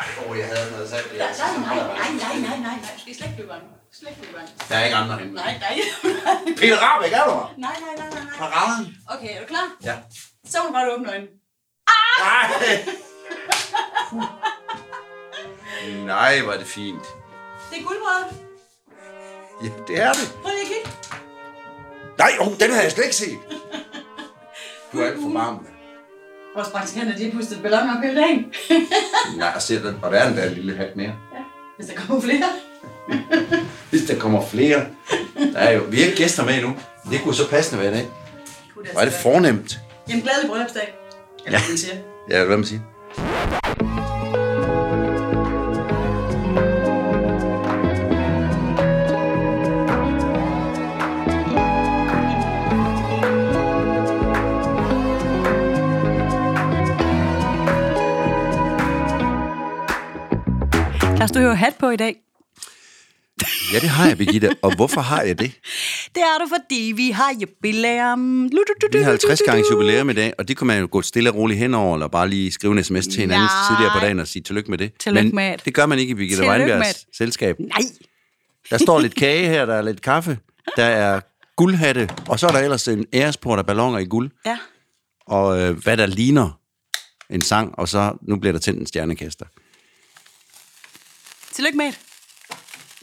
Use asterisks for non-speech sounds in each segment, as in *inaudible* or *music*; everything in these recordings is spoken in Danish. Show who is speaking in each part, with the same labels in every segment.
Speaker 1: Ej, åh, jeg havde noget sagt. det.
Speaker 2: Nej, nej, nej, nej, nej, nej, nej, nej. Du skal slet ikke blive bange. Slet ikke blive bange.
Speaker 1: Der er ikke andre end
Speaker 2: Nej, nej.
Speaker 1: Peter Rabeck, er du her?
Speaker 2: nej, nej, nej, nej, nej.
Speaker 1: Paraden?
Speaker 2: Okay, er du klar?
Speaker 1: Ja.
Speaker 2: Så må du godt åbne øjnene.
Speaker 1: Nej. *laughs* Nej, hvor er det fint.
Speaker 2: Det er guldbrød.
Speaker 1: Ja, det er det.
Speaker 2: Prøv lige at kigge.
Speaker 1: Nej, oh, den havde jeg slet ikke set. Du er alt for varm.
Speaker 2: Vores praktikanter, de har pustet ballon op hele *laughs* dagen.
Speaker 1: Nej, og, se, der, og der er en der lille hat mere.
Speaker 2: Hvis der kommer flere.
Speaker 1: Hvis der kommer flere. Der er jo, vi er ikke gæster med endnu. Det kunne så passende være i dag. Hvor er det fornemt.
Speaker 2: Jamen, glædelig bryllupsdag. Eller
Speaker 1: Ja.
Speaker 2: hvad man siger.
Speaker 1: Ja, hvad man siger.
Speaker 3: Lars, du har jo hat på i dag.
Speaker 1: Ja, det har jeg, Birgitte. Og hvorfor har jeg det?
Speaker 3: Det er du, fordi vi har jubilæum. Du, du, du,
Speaker 1: Vi
Speaker 3: du,
Speaker 1: har 50
Speaker 3: du, du,
Speaker 1: gange
Speaker 3: du.
Speaker 1: jubilæum i dag, og det kunne man jo gå stille og roligt henover, eller bare lige skrive en sms til hinanden
Speaker 3: Nej.
Speaker 1: tidligere på dagen og sige tillykke med det.
Speaker 3: Tillykke
Speaker 1: Men
Speaker 3: med at-
Speaker 1: det gør man ikke i Birgitte
Speaker 3: Tillykke med
Speaker 1: Weinbergs selskab.
Speaker 3: Nej,
Speaker 1: Der står lidt kage her, der er lidt kaffe, der er guldhatte, og så er der ellers en æresport af ballonger i guld,
Speaker 3: ja.
Speaker 1: og øh, hvad der ligner en sang, og så nu bliver der tændt en stjernekaster.
Speaker 3: Tillykke med det.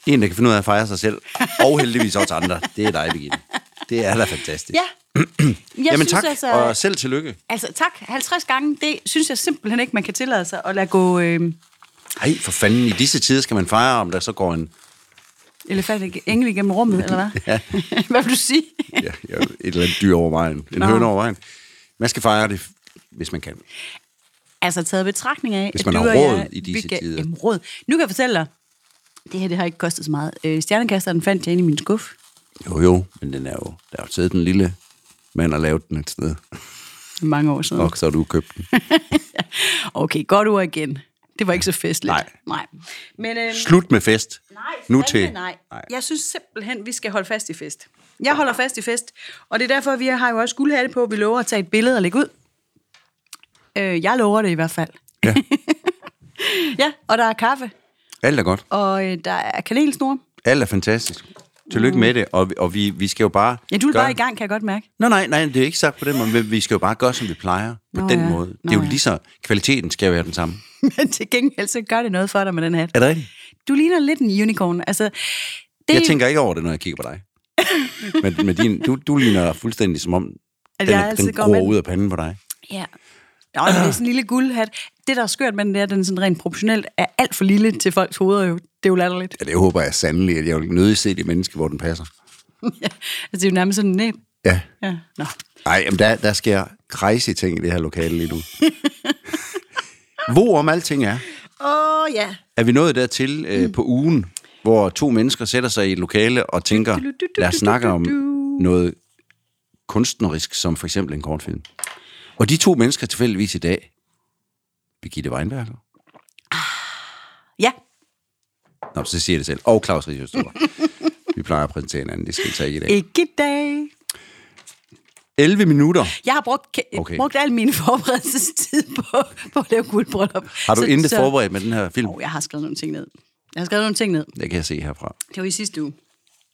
Speaker 1: En, der kan finde ud af at fejre sig selv, og heldigvis også andre. Det er dig, Birgitte. Det er da fantastisk. *clears throat*
Speaker 3: Ja. Jeg
Speaker 1: Jamen
Speaker 3: synes,
Speaker 1: tak,
Speaker 3: altså,
Speaker 1: og selv tillykke.
Speaker 3: altså, tak. 50 gange, det synes jeg simpelthen ikke, man kan tillade sig at lade gå øh,
Speaker 1: Ej, for fanden, i disse tider skal man fejre, om der så går en
Speaker 3: elefant ig- engel igennem rummet, eller hvad? Ja. *laughs* hvad vil du sige?
Speaker 1: ja, ja, et eller andet dyr over vejen. En
Speaker 3: Nå.
Speaker 1: høne over vejen. Man skal fejre det, hvis man kan.
Speaker 3: Altså taget betragtning af,
Speaker 1: Hvis man har råd i disse
Speaker 3: vi gav-
Speaker 1: tider.
Speaker 3: Jamen, råd. Nu kan jeg fortælle dig, det her det har ikke kostet så meget. Øh, stjernekasteren fandt jeg inde i min skuff.
Speaker 1: Jo, jo, men den er jo, der er jo siddet den lille mand og lavet den et sted.
Speaker 3: mange år siden.
Speaker 1: Og så har du købt den.
Speaker 3: Okay, godt ord igen. Det var ikke så festligt.
Speaker 1: Nej.
Speaker 3: Nej. Men, øhm,
Speaker 1: Slut med fest.
Speaker 2: Nej,
Speaker 1: nu
Speaker 2: fandme
Speaker 1: til.
Speaker 2: Nej. nej. Jeg synes simpelthen, vi skal holde fast i fest.
Speaker 3: jeg holder fast i fest, og det er derfor, vi har jo også guldhatte på. Vi lover at tage et billede og lægge ud. Øh, jeg lover det i hvert fald.
Speaker 1: Ja.
Speaker 3: *laughs* Ja, og der er kaffe,
Speaker 1: Alt er godt.
Speaker 3: og øh, der er kanelsnore.
Speaker 1: Alt er fantastisk. Tillykke med det, og, vi- og vi, vi skal jo bare...
Speaker 3: Mm. Ja, du er
Speaker 1: gøre-
Speaker 3: bare i gang, kan jeg godt mærke. *laughs*
Speaker 1: Nå, nej, nej, det er ikke sagt på den måde, men vi skal jo bare gøre, som vi plejer. På
Speaker 3: Nå,
Speaker 1: den
Speaker 3: ja.
Speaker 1: måde.
Speaker 3: Nå,
Speaker 1: det er jo
Speaker 3: ja.
Speaker 1: lige så... Kvaliteten skal jo være den samme.
Speaker 3: Men til gengæld, så gør det noget for dig med den hat.
Speaker 1: Er det rigtigt?
Speaker 3: Du ligner lidt en unicorn. Altså, det,
Speaker 1: Jeg tænker ikke over det, når jeg kigger på
Speaker 3: *laughs*
Speaker 1: dig. men, men din, du, du ligner fuldstændig som om,
Speaker 3: At
Speaker 1: den,
Speaker 3: jeg
Speaker 1: er-
Speaker 3: altid
Speaker 1: den
Speaker 3: går med
Speaker 1: gror
Speaker 3: den.
Speaker 1: ud af panden på dig.
Speaker 3: Ja. Nå, men det er sådan en lille guldhat. Det, der er skørt med den, det er, at den sådan rent proportionelt er alt for lille til folks hoveder. Jo. Det er jo latterligt.
Speaker 1: Ja, det håber jeg sandelig, at jeg vil nødig se det menneske, hvor den passer.
Speaker 3: *laughs* Ja. Altså, det er jo nærmest sådan en næb.
Speaker 1: Ja.
Speaker 3: Ja. Nå.
Speaker 1: Ej, men der, der sker crazy ting i det her lokale lige nu. hvor om alting er,
Speaker 3: Åh, oh, ja.
Speaker 1: er vi nået dertil
Speaker 3: Mm.
Speaker 1: øh, på ugen, hvor to mennesker sætter sig i et lokale og tænker, lad os snakke om noget kunstnerisk, som for eksempel en kortfilm. Og de to mennesker tilfældigvis i dag, Birgitte Weinberger,
Speaker 3: Ja.
Speaker 1: Nå, så siger jeg det selv, og Claus Riesjøstrup. Vi plejer at præsentere hinanden, det skal vi tage i dag.
Speaker 3: Ikke i dag.
Speaker 1: 11 minutter.
Speaker 3: Jeg har brugt, ke-
Speaker 1: Okay.
Speaker 3: okay. brugt al min *laughs* forberedelsestid på, på at lave guldbryllup.
Speaker 1: Har du intet forberedt med den her film?
Speaker 3: Oh, jeg har skrevet nogle ting ned. Jeg har skrevet nogle ting ned.
Speaker 1: Det kan jeg se herfra.
Speaker 3: Det var i sidste uge.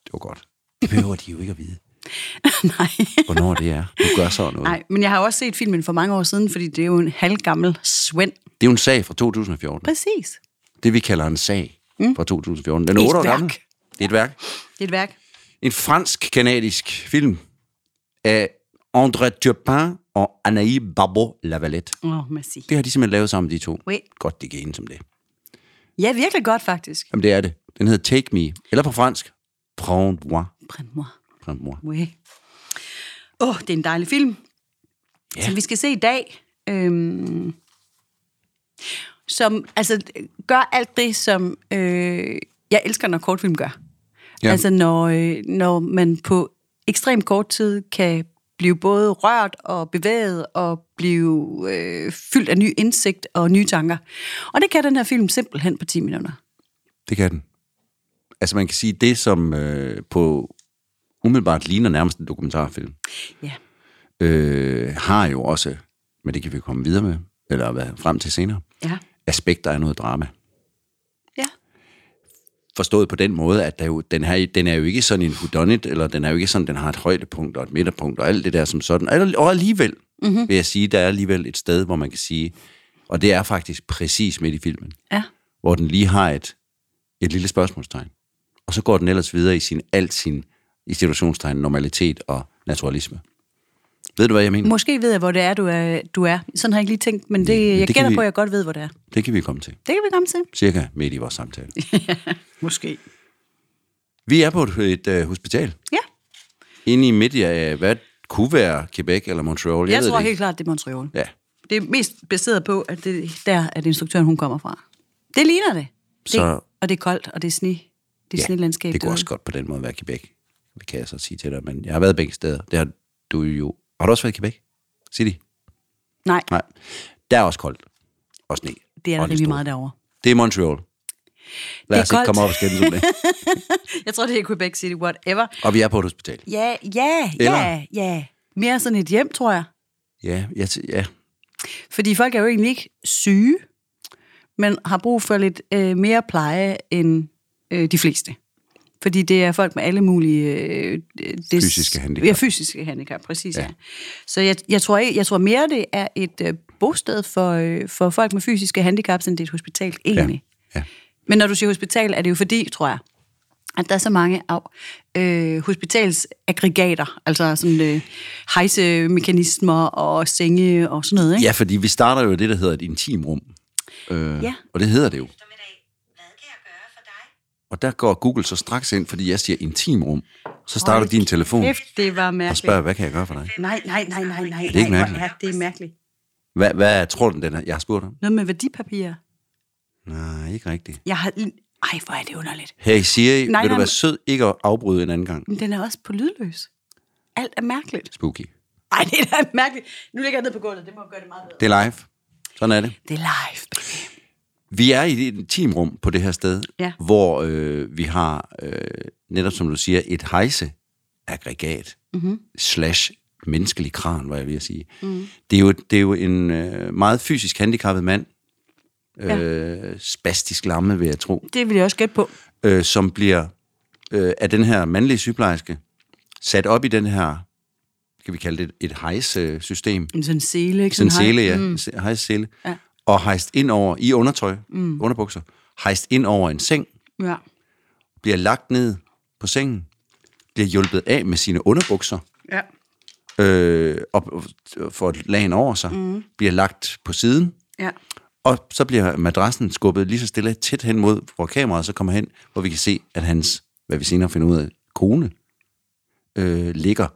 Speaker 1: Det var godt. Det behøver de jo ikke at vide,
Speaker 3: *laughs* Nej.
Speaker 1: hvornår det er. Du gør så noget.
Speaker 3: Nej, men jeg har jo også set filmen for mange år siden, fordi det er jo en halvgammel Svend.
Speaker 1: Det er jo en sag fra 2014.
Speaker 3: Præcis.
Speaker 1: Det vi kalder en sag mm. fra 2014. Den er
Speaker 3: Et
Speaker 1: 8 år
Speaker 3: værk.
Speaker 1: gammel. Det er et værk.
Speaker 3: Det er et værk.
Speaker 1: En fransk-kanadisk film af André Dupin og Anaïs Barbeau-Lavalette.
Speaker 3: Åh, oh, merci.
Speaker 1: Det har de simpelthen lavet sammen, de to.
Speaker 3: Oui.
Speaker 1: Godt, de kan enes om det.
Speaker 3: Ja, virkelig godt faktisk.
Speaker 1: Jamen, det er det. Den hedder Take Me. Eller på fransk, Prends-moi.
Speaker 3: Prends-moi.
Speaker 1: Prends-moi.
Speaker 3: Oui. Åh, oh, det er en dejlig film,
Speaker 1: Ja.
Speaker 3: ja. som vi skal se i dag. Øhm, som altså gør alt det, som øh, jeg elsker, når kortfilm gør.
Speaker 1: Ja.
Speaker 3: Ja. Altså når, øh, når man på ekstremt kort tid kan blive både rørt og bevæget og blive øh, fyldt af ny indsigt og nye tanker. Og det kan den her film simpelthen på 10 minutter.
Speaker 1: Det kan den. Altså, man kan sige, det som øh, på umiddelbart ligner nærmest en dokumentarfilm,
Speaker 3: Ja.
Speaker 1: øh, har jo også, men det kan vi komme videre med, eller hvad, frem til senere,
Speaker 3: Ja.
Speaker 1: aspekter af noget drama.
Speaker 3: Ja.
Speaker 1: Forstået på den måde, at der jo, den, her, den er jo ikke sådan en whodunit, eller den er jo ikke sådan, den har et højdepunkt og et midterpunkt og alt det der som sådan. Og- Og alligevel, mm-hmm. vil jeg sige, der er alligevel et sted, hvor man kan sige, og det er faktisk præcis midt i filmen,
Speaker 3: Ja.
Speaker 1: hvor den lige har et, et lille spørgsmålstegn. Og så går den ellers videre i sin, alt sin, i situationstegn, normalitet og naturalisme. Ved du, hvad jeg mener?
Speaker 3: Måske ved jeg, hvor det er, du er. Du er. Sådan har jeg ikke lige tænkt, men det,
Speaker 1: det
Speaker 3: jeg
Speaker 1: kan
Speaker 3: gætter
Speaker 1: vi-
Speaker 3: på, at jeg godt ved, hvor det er.
Speaker 1: Det kan vi komme til.
Speaker 3: Det kan vi komme til.
Speaker 1: Cirka midt i vores samtale.
Speaker 3: Måske.
Speaker 1: Vi er på et, et øh, hospital.
Speaker 3: Ja,
Speaker 1: Inde i midt i, øh, hvad kunne være Quebec eller Montreal?
Speaker 3: jeg, jeg
Speaker 1: ved
Speaker 3: tror
Speaker 1: det
Speaker 3: helt klart, det er Montreal.
Speaker 1: Ja,
Speaker 3: Det er mest baseret på, at det er der, at instruktøren hun kommer fra. Det ligner det. det
Speaker 1: Så-
Speaker 3: Og det er koldt, og det er sne. Det er ja, snelandskab.
Speaker 1: ja det kunne
Speaker 3: derude.
Speaker 1: også godt på den måde være Quebec. Det kan jeg så sige til dig, men jeg har været begge steder. Det har du jo... Har du også været i Quebec? City?
Speaker 3: Nej,
Speaker 1: Nej. Der er også koldt. Og sne.
Speaker 3: det er
Speaker 1: Og
Speaker 3: der
Speaker 1: lidt
Speaker 3: rimelig
Speaker 1: stor.
Speaker 3: meget derovre.
Speaker 1: Det er Montreal.
Speaker 3: Det
Speaker 1: Lad
Speaker 3: er
Speaker 1: os ikke
Speaker 3: koldt.
Speaker 1: komme op og skændes
Speaker 3: *laughs*
Speaker 1: om det.
Speaker 3: Jeg tror, det er Quebec City, whatever.
Speaker 1: Og vi er på et hospital.
Speaker 3: Ja, ja, ja,
Speaker 1: Eller-
Speaker 3: ja. Mere sådan et hjem, tror jeg.
Speaker 1: Ja, ja, t- ja.
Speaker 3: Fordi folk er jo egentlig ikke syge, men har brug for lidt øh, mere pleje end øh, de fleste. Fordi det er folk med alle mulige... Øh, des,
Speaker 1: Fysiske handicap.
Speaker 3: Ja, fysiske handicap, præcis. Ja.
Speaker 1: Ja.
Speaker 3: Ja. Så jeg, jeg, tror, ikke, jeg tror mere, det er et øh, bosted for, øh, for folk med fysiske handicaps, end det er et hospital, egentlig.
Speaker 1: ja.
Speaker 3: Men når du siger hospital, er det jo fordi, tror jeg, at der er så mange af øh, hospitalsaggregater, altså sådan øh, hejsemekanismer og senge og sådan noget, ikke?
Speaker 1: ja, fordi vi starter jo i det, der hedder et intimrum. Øh,
Speaker 3: Ja.
Speaker 1: Og det hedder det jo.
Speaker 4: eftermiddag. Hvad kan jeg gøre for dig?
Speaker 1: Og der går Google så straks ind, fordi jeg siger intimrum. Så starter
Speaker 3: Hold
Speaker 1: din telefon
Speaker 3: Kæft, det var
Speaker 1: og
Speaker 3: mærkeligt.
Speaker 1: spørger, hvad kan jeg gøre for dig?
Speaker 3: Nej, nej, nej, nej, nej.
Speaker 1: Uh. det ikke
Speaker 3: nej,
Speaker 1: mærkeligt?
Speaker 3: hvor er det er mærkeligt.
Speaker 1: Hvad, hvad tror du, den er? Jeg har spurgt ham.
Speaker 3: Noget med værdipapirer.
Speaker 1: Nej, ikke rigtigt.
Speaker 3: Jeg har... Ej, hvor er det underligt.
Speaker 1: Hey Siri, nej,
Speaker 3: Nej,
Speaker 1: vil du være
Speaker 3: nej, men-
Speaker 1: sød ikke at afbryde en anden gang?
Speaker 3: Men den er også på lydløs. Alt er mærkeligt.
Speaker 1: Spooky.
Speaker 3: Ej, det er da mærkeligt. Nu ligger jeg ned på gulvet, det må gøre det meget bedre.
Speaker 1: Det er live. Sådan er det.
Speaker 3: Det er live.
Speaker 1: Vi er i et teamrum på det her sted,
Speaker 3: Ja.
Speaker 1: hvor øh, vi har, øh, netop som du siger, et hejseaggregat
Speaker 3: Mhm.
Speaker 1: mm-hmm. slash menneskelig kran, var jeg ved at sige. Mm. Det, er jo, det er jo en øh, meget fysisk handicappet mand,
Speaker 3: Ja.
Speaker 1: øh, spastisk lamme, vil jeg tro,
Speaker 3: Det vil jeg også gætte på.
Speaker 1: øh, som bliver øh, af den her mandlige sygeplejerske sat op i den her, skal vi kalde det et hejsesystem,
Speaker 3: En sådan sele, ikke?
Speaker 1: sådan en
Speaker 3: hej.
Speaker 1: sele, ja. Mm. Hejst sele.
Speaker 3: Ja.
Speaker 1: Og hejst ind over, i undertøj, mm. underbukser, hejst ind over en seng,
Speaker 3: Ja.
Speaker 1: bliver lagt ned på sengen, bliver hjulpet af med sine underbukser,
Speaker 3: ja.
Speaker 1: øh, og og får et lagen over sig, mm. bliver lagt på siden,
Speaker 3: Ja.
Speaker 1: og så bliver madrassen skubbet lige så stille tæt hen mod, hvor kameraet så kommer hen, hvor vi kan se, at hans, hvad vi senere finder ud af, kone, øh, ligger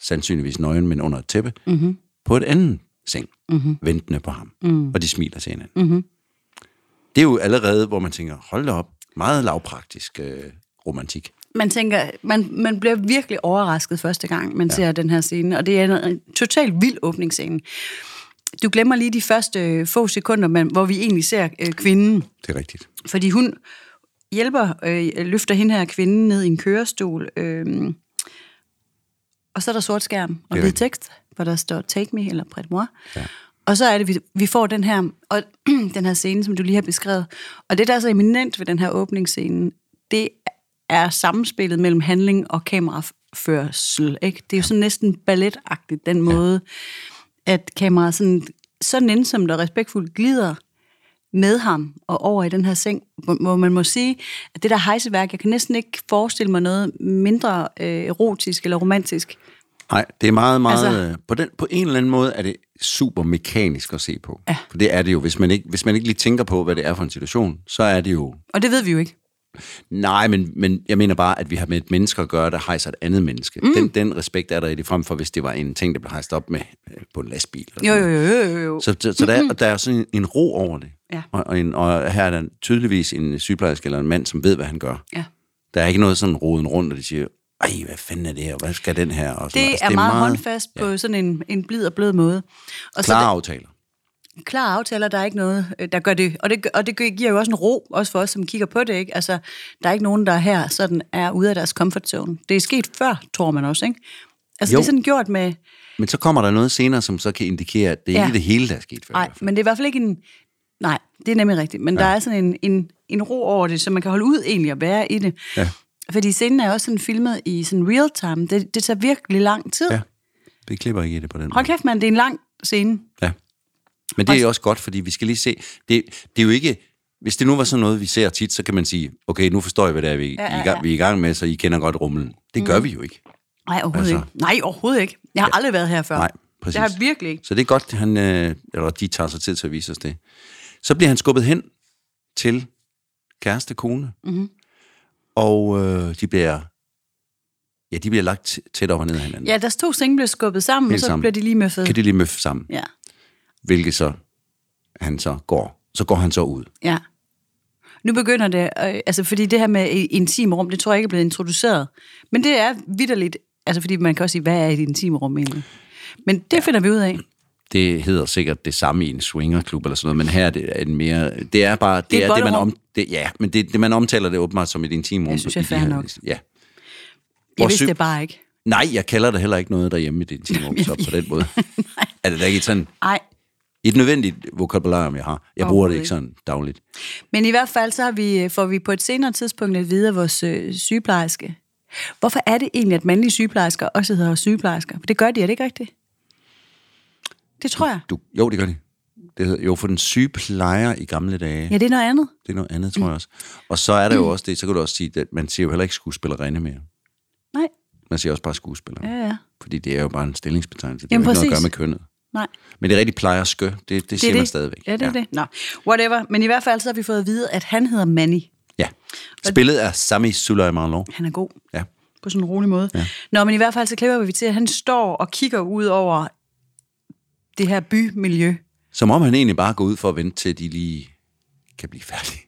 Speaker 1: sandsynligvis nøgen, men under et tæppe, mm-hmm. på et andet seng, mm-hmm. ventende på ham. Mm. Og de smiler til hinanden. Mm-hmm. Det er jo allerede, hvor man tænker, hold da op, meget lavpraktisk øh, romantik.
Speaker 3: Man tænker, man, man bliver virkelig overrasket første gang, man ja. ser den her scene, og det er en, en totalt vild åbningsscene. Du glemmer lige de første øh, få sekunder, man, hvor vi egentlig ser øh, kvinden.
Speaker 1: Det er rigtigt.
Speaker 3: Fordi hun hjælper, øh, løfter hende her kvinden ned i en kørestol. Øh, og så er der sort skærm og hvid
Speaker 1: rigtigt.
Speaker 3: tekst, hvor der står take me eller près de moi. Ja. Og så er det, vi, vi får den her, og, *clears throat* den her scene, som du lige har beskrevet. Og det, der er så eminent ved den her åbningsscene, det er samspillet mellem handling og kameraførsel. Ikke? Det er jo sådan næsten balletagtigt, den måde, at kameraet sådan, så nænsomt og respektfuldt glider med ham og over i den her seng, hvor hvor man må sige, at det der hejseværk, jeg kan næsten ikke forestille mig noget mindre øh, erotisk eller romantisk.
Speaker 1: Nej, det er meget, meget...
Speaker 3: Altså-
Speaker 1: Altså, på, den, på en eller anden måde er det super mekanisk at se på. Ja. For det er det jo. Hvis man, ikke, hvis man ikke lige tænker på, hvad det er for en situation, så er det jo...
Speaker 3: Og det ved vi jo ikke.
Speaker 1: Nej, men, men jeg mener bare, at vi har med et menneske at gøre, der hejser et andet menneske. Mm. Den, den respekt er der i det, frem for hvis det var en ting, der blev hejst op med øh, på en lastbil. Eller
Speaker 3: Jo,
Speaker 1: sådan
Speaker 3: jo, jo, jo, jo, jo.
Speaker 1: noget. Så, så, så der, er, og der er sådan en, en ro over det.
Speaker 3: Ja.
Speaker 1: Og, og, en, og her er der tydeligvis en sygeplejerske eller en mand, som ved, hvad han gør.
Speaker 3: Ja.
Speaker 1: Der er ikke noget sådan roden rundt, og de siger, ej, hvad fanden er det her? Hvad skal den her? Og sådan
Speaker 3: Det
Speaker 1: noget. Altså,
Speaker 3: er, meget, håndfast Altså, på sådan en, en blid og blød måde. Og
Speaker 1: Klare aftaler.
Speaker 3: så klare aftaler, der er ikke noget, øh, der gør det. Og det, gør- og det gi- giver jo også en ro, også for os, som kigger på det. Ikke? Altså, der er ikke nogen, der her sådan er ude af deres comfort zone. Det er sket før, tror man også, ikke? Altså, jo.
Speaker 1: Jo.
Speaker 3: det er sådan gjort med,
Speaker 1: Men så kommer der noget senere, som så kan indikere, at det er
Speaker 3: Ja.
Speaker 1: ikke det hele, der er sket før. i
Speaker 3: Nej,
Speaker 1: hvert fald.
Speaker 3: men det er i hvert fald ikke en... Nej, det er nemlig rigtigt. Men ja. der er sådan en, en, en ro over det, så man kan holde ud egentlig at være i det.
Speaker 1: Ja.
Speaker 3: Fordi scenen er også sådan filmet i sådan real time. Det, det tager virkelig lang tid.
Speaker 1: Ja. Vi klipper ikke i det på den
Speaker 3: Hold kæft, mand, det er en lang scene.
Speaker 1: Ja. Men det er jo også godt, fordi vi skal lige se... Det, det er jo ikke... Hvis det nu var sådan noget, vi ser tit, så kan man sige, okay, nu forstår jeg, hvad det er, vi, ja, ja, ja. vi er i gang med, så I kender godt rumlen. Det gør mm. vi jo ikke.
Speaker 3: Nej, overhovedet
Speaker 1: Altså-
Speaker 3: altså. ikke. Nej, overhovedet ikke. Jeg har ja. aldrig været her før.
Speaker 1: Nej, præcis.
Speaker 3: Det har jeg virkelig ikke.
Speaker 1: Så det er godt, han, øh, eller de tager sig tid til at vise os det. Så bliver han skubbet hen til kæreste kone. Mm-hmm. Og øh, de bliver... Ja, de bliver lagt tæ- tæt op og ned af hinanden.
Speaker 3: Ja, deres to senge bliver skubbet sammen,
Speaker 1: Helt
Speaker 3: og så
Speaker 1: sammen.
Speaker 3: bliver de lige møffet.
Speaker 1: Kan de lige møffe sammen,
Speaker 3: Ja,
Speaker 1: hvilket så han så går. Så går han så ud.
Speaker 3: ja. Nu begynder det, øh, altså fordi det her med i- intimrum, det tror jeg ikke er blevet introduceret. Men det er vidderligt, altså fordi man kan også sige, hvad er et intimrum egentlig? Men det ja. finder vi ud af.
Speaker 1: det hedder sikkert det samme i en swingerklub eller sådan noget, men her er det en mere... Det er bare... Det,
Speaker 3: Det
Speaker 1: det
Speaker 3: er
Speaker 1: er,
Speaker 3: et
Speaker 1: det, man
Speaker 3: bollerum.
Speaker 1: om, det, ja, men det, det, man omtaler det åbenbart som et intimrum.
Speaker 3: Det synes jeg
Speaker 1: i de
Speaker 3: er fair
Speaker 1: her-
Speaker 3: nok.
Speaker 1: Ja.
Speaker 3: Jeg
Speaker 1: Hvor
Speaker 3: vidste
Speaker 1: syg-
Speaker 3: det bare ikke.
Speaker 1: Nej, jeg kalder det heller ikke noget derhjemme i det intimrum, så på den
Speaker 3: *laughs*
Speaker 1: måde. er det da ikke et sådan...
Speaker 3: Nej,
Speaker 1: Et nødvendigt vokabularium, jeg har. Jeg bruger det ikke sådan dagligt.
Speaker 3: Men i hvert fald så har vi, øh, får vi på et senere tidspunkt at vide af vores øh, sygeplejerske. Hvorfor er det egentlig, at mandlige sygeplejersker også hedder sygeplejersker? For det gør de, er det ikke rigtigt? Det tror jeg.
Speaker 1: Du, jo, det gør det. det hedder, jo, for den syge plejer i gamle dage.
Speaker 3: Ja, Mm. det er noget andet.
Speaker 1: Det er noget andet, tror jeg også. Og så er der jo også det, så kan du også sige, at man siger jo heller ikke skuespillerinde mere.
Speaker 3: Nej,
Speaker 1: Man siger også bare skuespiller.
Speaker 3: Ja, ja.
Speaker 1: Fordi det er jo bare en stillingsbetegnelse. Det har
Speaker 3: Jamen,
Speaker 1: jo ikke noget at gøre
Speaker 3: præcis.
Speaker 1: med kønnet.
Speaker 3: nej.
Speaker 1: Men det er rigtig plejer skø, det, det, det siger
Speaker 3: det.
Speaker 1: man stadigvæk.
Speaker 3: Ja, det er ja. det. Nå, whatever. Men i hvert fald så har vi fået at vide, at han hedder Manny.
Speaker 1: Ja. Spillet af Sami Sulaimanlov.
Speaker 3: Han er god.
Speaker 1: Ja.
Speaker 3: på sådan en rolig måde. Ja. Nå, men i hvert fald så klipper vi til, at han står og kigger ud over det her bymiljø.
Speaker 1: Som om han egentlig bare går ud for at vente til, de lige kan blive færdige.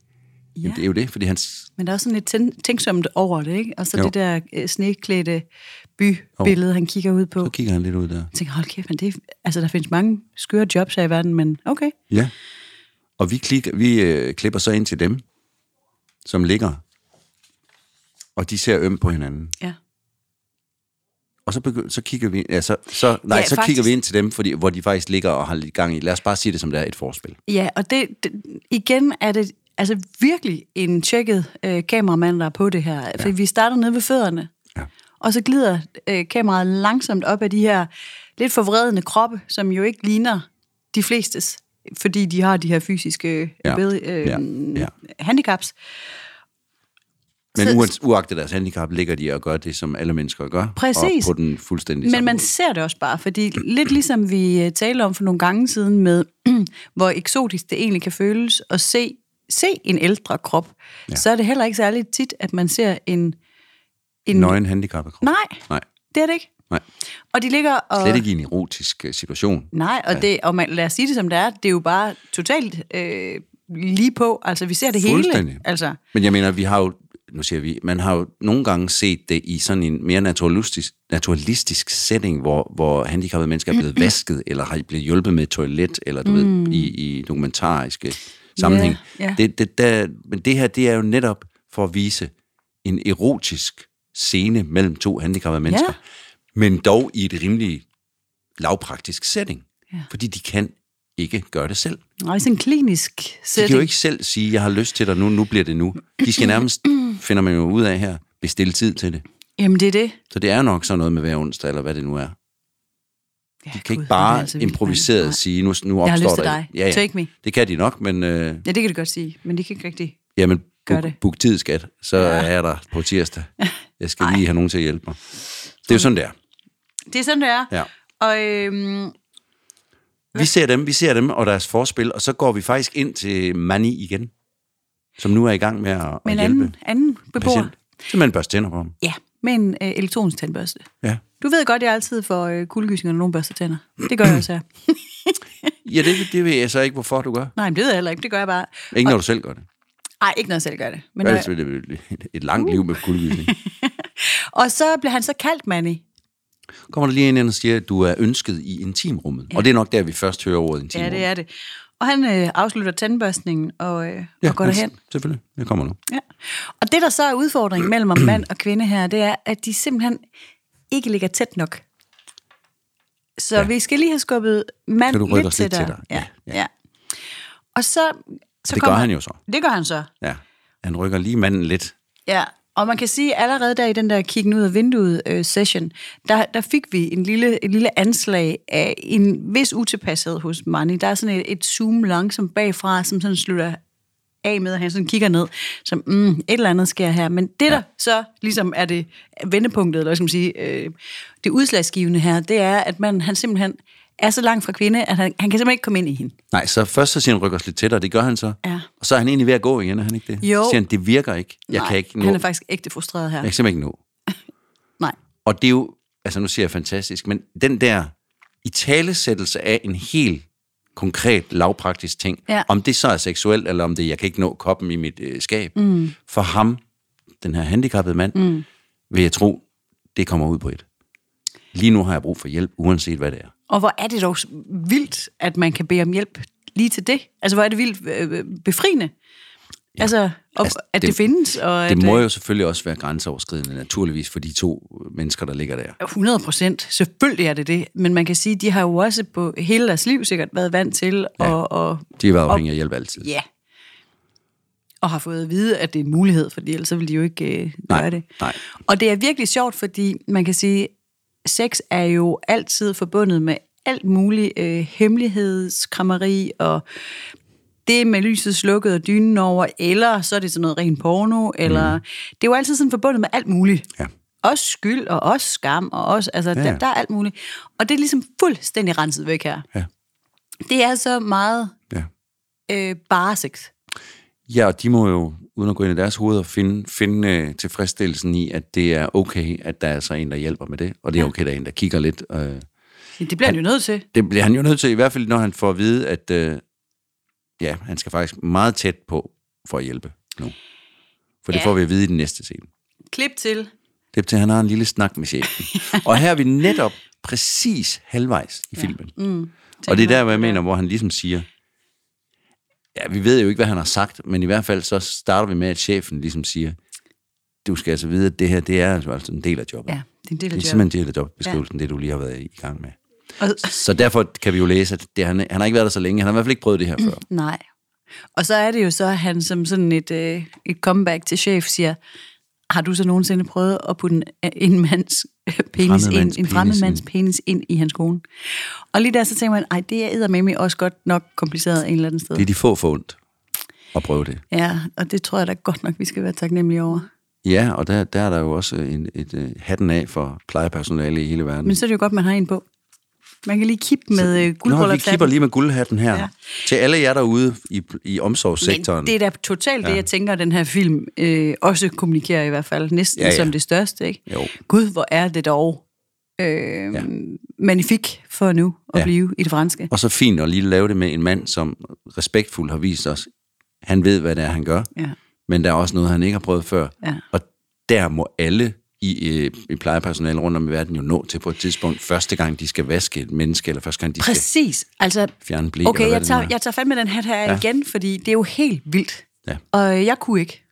Speaker 1: Ja. Jamen, det er jo det, fordi han... s-
Speaker 3: Men der er også sådan lidt tæn- tænksomt over det, ikke? Og så
Speaker 1: Jo.
Speaker 3: jo. det der øh, sneklædte bybillede, han kigger ud på.
Speaker 1: Så
Speaker 3: Okay.
Speaker 1: kigger han lidt ud der.
Speaker 3: Jeg tænker, hold kæft, men det, er- altså, der findes mange skøre jobs her i verden, men okay.
Speaker 1: Ja. Og vi, klikker, vi øh, klipper så ind til dem, som ligger. Og de ser øm på hinanden.
Speaker 3: Ja.
Speaker 1: Og så, begy- så kigger vi... Ja, så, så, nej, ja,
Speaker 3: Ja,
Speaker 1: så
Speaker 3: faktisk-
Speaker 1: kigger vi ind til dem, fordi, hvor de faktisk ligger og har lidt gang i. Lad os bare sige det, som det er et forspil.
Speaker 3: Ja, og det, det, igen er det altså virkelig en tjekket øh, kameramand, der er på det her. For vi starter nede ved fødderne,
Speaker 1: Ja.
Speaker 3: og så glider øh, kameraet langsomt op af de her lidt forvredende kroppe, som jo ikke ligner de flestes, fordi de har de her fysiske
Speaker 1: Ja.
Speaker 3: ja. Ved, øh,
Speaker 1: Ja.
Speaker 3: ja.
Speaker 1: Ja.
Speaker 3: Ja. handicaps.
Speaker 1: Men
Speaker 3: Så-
Speaker 1: uans, uagtet deres handicap, ligger de og gør det, som alle mennesker gør.
Speaker 3: Præcis.
Speaker 1: Og på den fuldstændig
Speaker 3: Men
Speaker 1: samme
Speaker 3: man
Speaker 1: måde.
Speaker 3: ser det også bare, fordi lidt ligesom vi øh, talte om for nogle gange siden med, *clears throat* hvor eksotisk det egentlig kan føles at se, se en ældre krop, ja. så er det heller ikke særlig tit, at man ser en... en
Speaker 1: Nøgen handicappet krop.
Speaker 3: Nej,
Speaker 1: Nej,
Speaker 3: det er det ikke.
Speaker 1: nej.
Speaker 3: Og de ligger og...
Speaker 1: Slet ikke i en erotisk øh, situation.
Speaker 3: Nej, og, det, og man, lad os sige det som det er, det er jo bare totalt øh, lige på. Altså, vi ser det hele.
Speaker 1: Fuldstændig.
Speaker 3: Altså,
Speaker 1: Men jeg mener, vi har jo, nu siger vi, man har jo nogle gange set det i sådan en mere naturalistisk, naturalistisk setting, hvor, hvor handicappede mennesker er blevet vasket, eller har blevet hjulpet med et toilet, eller du mm. ved, i, i dokumentariske sammenhæng.
Speaker 3: Ja, ja.
Speaker 1: Det, det, der, men det her, det er jo netop for at vise en erotisk scene mellem to handicappede mennesker,
Speaker 3: Ja.
Speaker 1: men dog i et rimelig lavpraktisk setting,
Speaker 3: Ja.
Speaker 1: fordi de kan ikke gøre det selv.
Speaker 3: nej, sådan en klinisk
Speaker 1: De
Speaker 3: setting.
Speaker 1: kan jo ikke selv sige, jeg har lyst til dig nu, nu bliver det nu. De skal nærmest, finder man jo ud af her, bestille tid til det.
Speaker 3: Jamen, det er det.
Speaker 1: Så det er jo nok sådan noget med hver onsdag, eller hvad det nu er.
Speaker 3: Ja,
Speaker 1: De kan
Speaker 3: Gud,
Speaker 1: ikke
Speaker 3: han er
Speaker 1: bare
Speaker 3: altså
Speaker 1: altså
Speaker 3: vild, mand.
Speaker 1: improviseret
Speaker 3: Nej.
Speaker 1: sige, nu, nu opstår
Speaker 3: Jeg har lyst til
Speaker 1: der-
Speaker 3: dig.
Speaker 1: Ja, ja.
Speaker 3: Take me.
Speaker 1: Det kan de nok, men øh,
Speaker 3: Ja, det kan du godt sige, men det kan ikke rigtigt.
Speaker 1: jamen,
Speaker 3: Gør
Speaker 1: book,
Speaker 3: det.
Speaker 1: book tid, skat. Så ja. er jeg der på tirsdag. Jeg skal lige have nogen til at hjælpe mig. Det er jo sådan, der.
Speaker 3: Det er sådan, det er.
Speaker 1: Ja.
Speaker 3: Og øhm,
Speaker 1: Vi ser dem, vi ser dem og deres forspil, og så går vi faktisk ind til Mani igen, som nu er i gang med at,
Speaker 3: med
Speaker 1: at
Speaker 3: en
Speaker 1: hjælpe
Speaker 3: anden, anden beboer.
Speaker 1: patienten. Simpelthen børste tænder på ham.
Speaker 3: Ja, med en øh, elektronisk tandbørste.
Speaker 1: Ja.
Speaker 3: Du ved godt, jeg altid får øh, kuldegysninger, når nogen børster tænder. Det gør jeg også her.
Speaker 1: Ja, det, det ved jeg så ikke, hvorfor du gør.
Speaker 3: Nej, men det ved jeg heller ikke. Det gør jeg bare.
Speaker 1: Ikke når du selv gør det.
Speaker 3: Nej, ikke når jeg selv gør det. Men når
Speaker 1: Ellers
Speaker 3: jeg...
Speaker 1: vil det blive et- et langt liv med kuldegysning.
Speaker 3: *laughs* Og så bliver han så kaldt Manny.
Speaker 1: Kommer der lige ind og siger, at du er ønsket i intimrummet. Ja. Og det er nok der, vi først hører ordet
Speaker 3: Ja,
Speaker 1: intimrummet.
Speaker 3: det er det. Og han øh, afslutter tandbørstningen og, øh, ja, og går
Speaker 1: men-
Speaker 3: derhen.
Speaker 1: Selvfølgelig. Jeg kommer nu.
Speaker 3: Ja. Og det, der så er udfordringen mellem om mand og kvinde her, det er, at de simpelthen ikke ligger tæt nok. Så ja. vi skal lige have skubbet mand
Speaker 1: Kan du rykke
Speaker 3: lidt
Speaker 1: os lidt
Speaker 3: tættere.
Speaker 1: tættere?
Speaker 3: Ja,
Speaker 1: Ja,
Speaker 3: ja.
Speaker 1: ja.
Speaker 3: ja. Og så, så
Speaker 1: Det gør
Speaker 3: kommer,
Speaker 1: han jo så.
Speaker 3: Det gør han så.
Speaker 1: Ja. Han rykker lige manden lidt.
Speaker 3: Ja, og man kan sige, at allerede der i den der kiggen ud af vinduet øh, session, der, der fik vi en lille, en lille anslag af en vis utilpassethed hos Manny. Der er sådan et, et zoom langsomt bagfra, som sådan slutter af med, at han sådan kigger ned, som, mm, et eller andet sker her. Men det, ja. der så ligesom er det vendepunktet, eller hvad skal man sige, øh, det udslagsgivende her, det er, at man, han simpelthen er så langt fra kvinde, at han, han kan simpelthen ikke komme ind i hende.
Speaker 1: Nej, så først så siger han, rykker os lidt tættere, det gør han så.
Speaker 3: Ja.
Speaker 1: Og så er han egentlig ved at gå igen, er han ikke det?
Speaker 3: Jo.
Speaker 1: Så siger han, det virker ikke. Jeg
Speaker 3: Nej,
Speaker 1: kan ikke nå.
Speaker 3: Han er faktisk ægte frustreret her.
Speaker 1: Jeg kan simpelthen ikke nå.
Speaker 3: Nej.
Speaker 1: Og det er jo, altså nu siger jeg fantastisk, men den der i talesættelse af en helt konkret, lavpraktisk ting,
Speaker 3: Ja.
Speaker 1: om det så er seksuelt, eller om det, jeg kan ikke nå koppen i mit øh, skab, mm. for ham, den her handicappede mand, mm. vil jeg tro, det kommer ud på et. Lige nu har jeg brug for hjælp, uanset hvad det er.
Speaker 3: Og hvor er det dog vildt, at man kan bede om hjælp lige til det. Altså, hvor er det vildt øh, befriende. Ja. Altså, og,
Speaker 1: Altså,
Speaker 3: altså, at det,
Speaker 1: det-
Speaker 3: det findes, og
Speaker 1: Det
Speaker 3: at,
Speaker 1: må
Speaker 3: øh,
Speaker 1: jo selvfølgelig også være grænseoverskridende, naturligvis, for de to mennesker, der ligger der.
Speaker 3: 100 øh, procent. Selvfølgelig er det det. Men man kan sige, de har jo også på hele deres liv sikkert været vant til,
Speaker 1: Ja.
Speaker 3: ja. og, og,
Speaker 1: De har været afhængige af hjælp altid.
Speaker 3: ja. og har fået at vide, at det er en mulighed, fordi ellers så ville de jo ikke øh,
Speaker 1: Nej,
Speaker 3: gøre det.
Speaker 1: nej.
Speaker 3: Og det er virkelig sjovt, fordi man kan sige, sex er jo altid forbundet med alt muligt øh, hemmelighedskrammeri og det med lyset slukket og dynen over, eller så er det sådan noget ren porno, eller... Mm. Det er jo altid sådan forbundet med alt muligt.
Speaker 1: Ja.
Speaker 3: Også skyld, og også skam, og også... Altså, ja.
Speaker 1: ja.
Speaker 3: der, der er alt muligt. Og det er ligesom fuldstændig renset væk her.
Speaker 1: Ja.
Speaker 3: Det er så meget
Speaker 1: Ja.
Speaker 3: øh, bare sex.
Speaker 1: Ja, og de må jo, uden at gå ind i deres hoveder, finde, finde øh, tilfredsstillelsen i, at det er okay, at der er så en, der hjælper med det, og det er okay, der er en, der kigger lidt. Øh.
Speaker 3: Det bliver han jo nødt til.
Speaker 1: Det bliver han jo nødt til, i hvert fald når han får at vide, at øh, ja, han skal faktisk meget tæt på for at hjælpe nu. For det
Speaker 3: Ja.
Speaker 1: får vi at vide i den næste scene.
Speaker 3: Klip til.
Speaker 1: Det er til, at han har en lille snak med
Speaker 3: *laughs*
Speaker 1: chefen. og her er vi netop præcis halvvejs i filmen. Mm, og det er der, hvor jeg mener, hvor han ligesom siger, ja, vi ved jo ikke, hvad han har sagt, men i hvert fald så starter vi med, at chefen ligesom siger, du skal altså vide, at det her, det er altså altså en del af jobbet.
Speaker 3: Ja, det er en del af
Speaker 1: Det er
Speaker 3: jobbet.
Speaker 1: simpelthen en del af jobbeskrivelsen, ja. det du lige har været i gang med.
Speaker 3: Og,
Speaker 1: Så derfor kan vi jo læse, at det, han, han har ikke været der så længe. Han har i hvert fald ikke prøvet det her
Speaker 3: *clears throat*
Speaker 1: før.
Speaker 3: nej. Og så er det jo så, at han som sådan et, øh, et comeback til chef siger, har du så nogensinde prøvet at putte en, en mands *laughs* penis
Speaker 1: Fremmed mands
Speaker 3: ind, en
Speaker 1: penis
Speaker 3: fremmed mands
Speaker 1: ind.
Speaker 3: penis ind i hans kone? Og lige der så tænker man, ej, det er eddermame også godt nok kompliceret en eller anden sted.
Speaker 1: Det er de få for ondt at prøve det.
Speaker 3: Ja, og det tror jeg da godt nok, vi skal være taknemmelige over.
Speaker 1: Ja, og der, der er der jo også en, et, øh, hatten af for plejepersonale i hele verden.
Speaker 3: Men så er det jo godt, man har en på. Man kan lige kippe med øh,
Speaker 1: Nå, vi kipper
Speaker 3: guldbrøllerklappen.
Speaker 1: lige med guldhatten her. Ja.
Speaker 3: Ja.
Speaker 1: Til alle jer derude i, i omsorgssektoren.
Speaker 3: Men det er da totalt ja. det, jeg tænker, at den her film øh, også kommunikerer i hvert fald. Næsten
Speaker 1: Ja,
Speaker 3: ja,
Speaker 1: ja.
Speaker 3: ja. som det største, ikke?
Speaker 1: Jo.
Speaker 3: Gud, hvor er det dog øh,
Speaker 1: Ja.
Speaker 3: ja. magnifik for nu at
Speaker 1: Ja.
Speaker 3: ja. blive i det franske.
Speaker 1: Og så fint at lige lave det med en mand, som respektfuldt har vist os, han ved, hvad det er, han gør.
Speaker 3: Ja.
Speaker 1: Men der er også noget, han ikke har prøvet før.
Speaker 3: Ja.
Speaker 1: Og der må alle i, øh, i plejepersonale rundt om i verden jo nå til på et tidspunkt, første gang de skal vaske et menneske, eller første gang de skal...
Speaker 3: Præcis. Altså,
Speaker 1: Fjerne ble, eller
Speaker 3: okay,
Speaker 1: hvad
Speaker 3: jeg
Speaker 1: det nu
Speaker 3: tager,
Speaker 1: er.
Speaker 3: jeg tager fandme den hat her ja. igen, fordi det er jo helt vildt.
Speaker 1: Ja.
Speaker 3: Og jeg kunne ikke.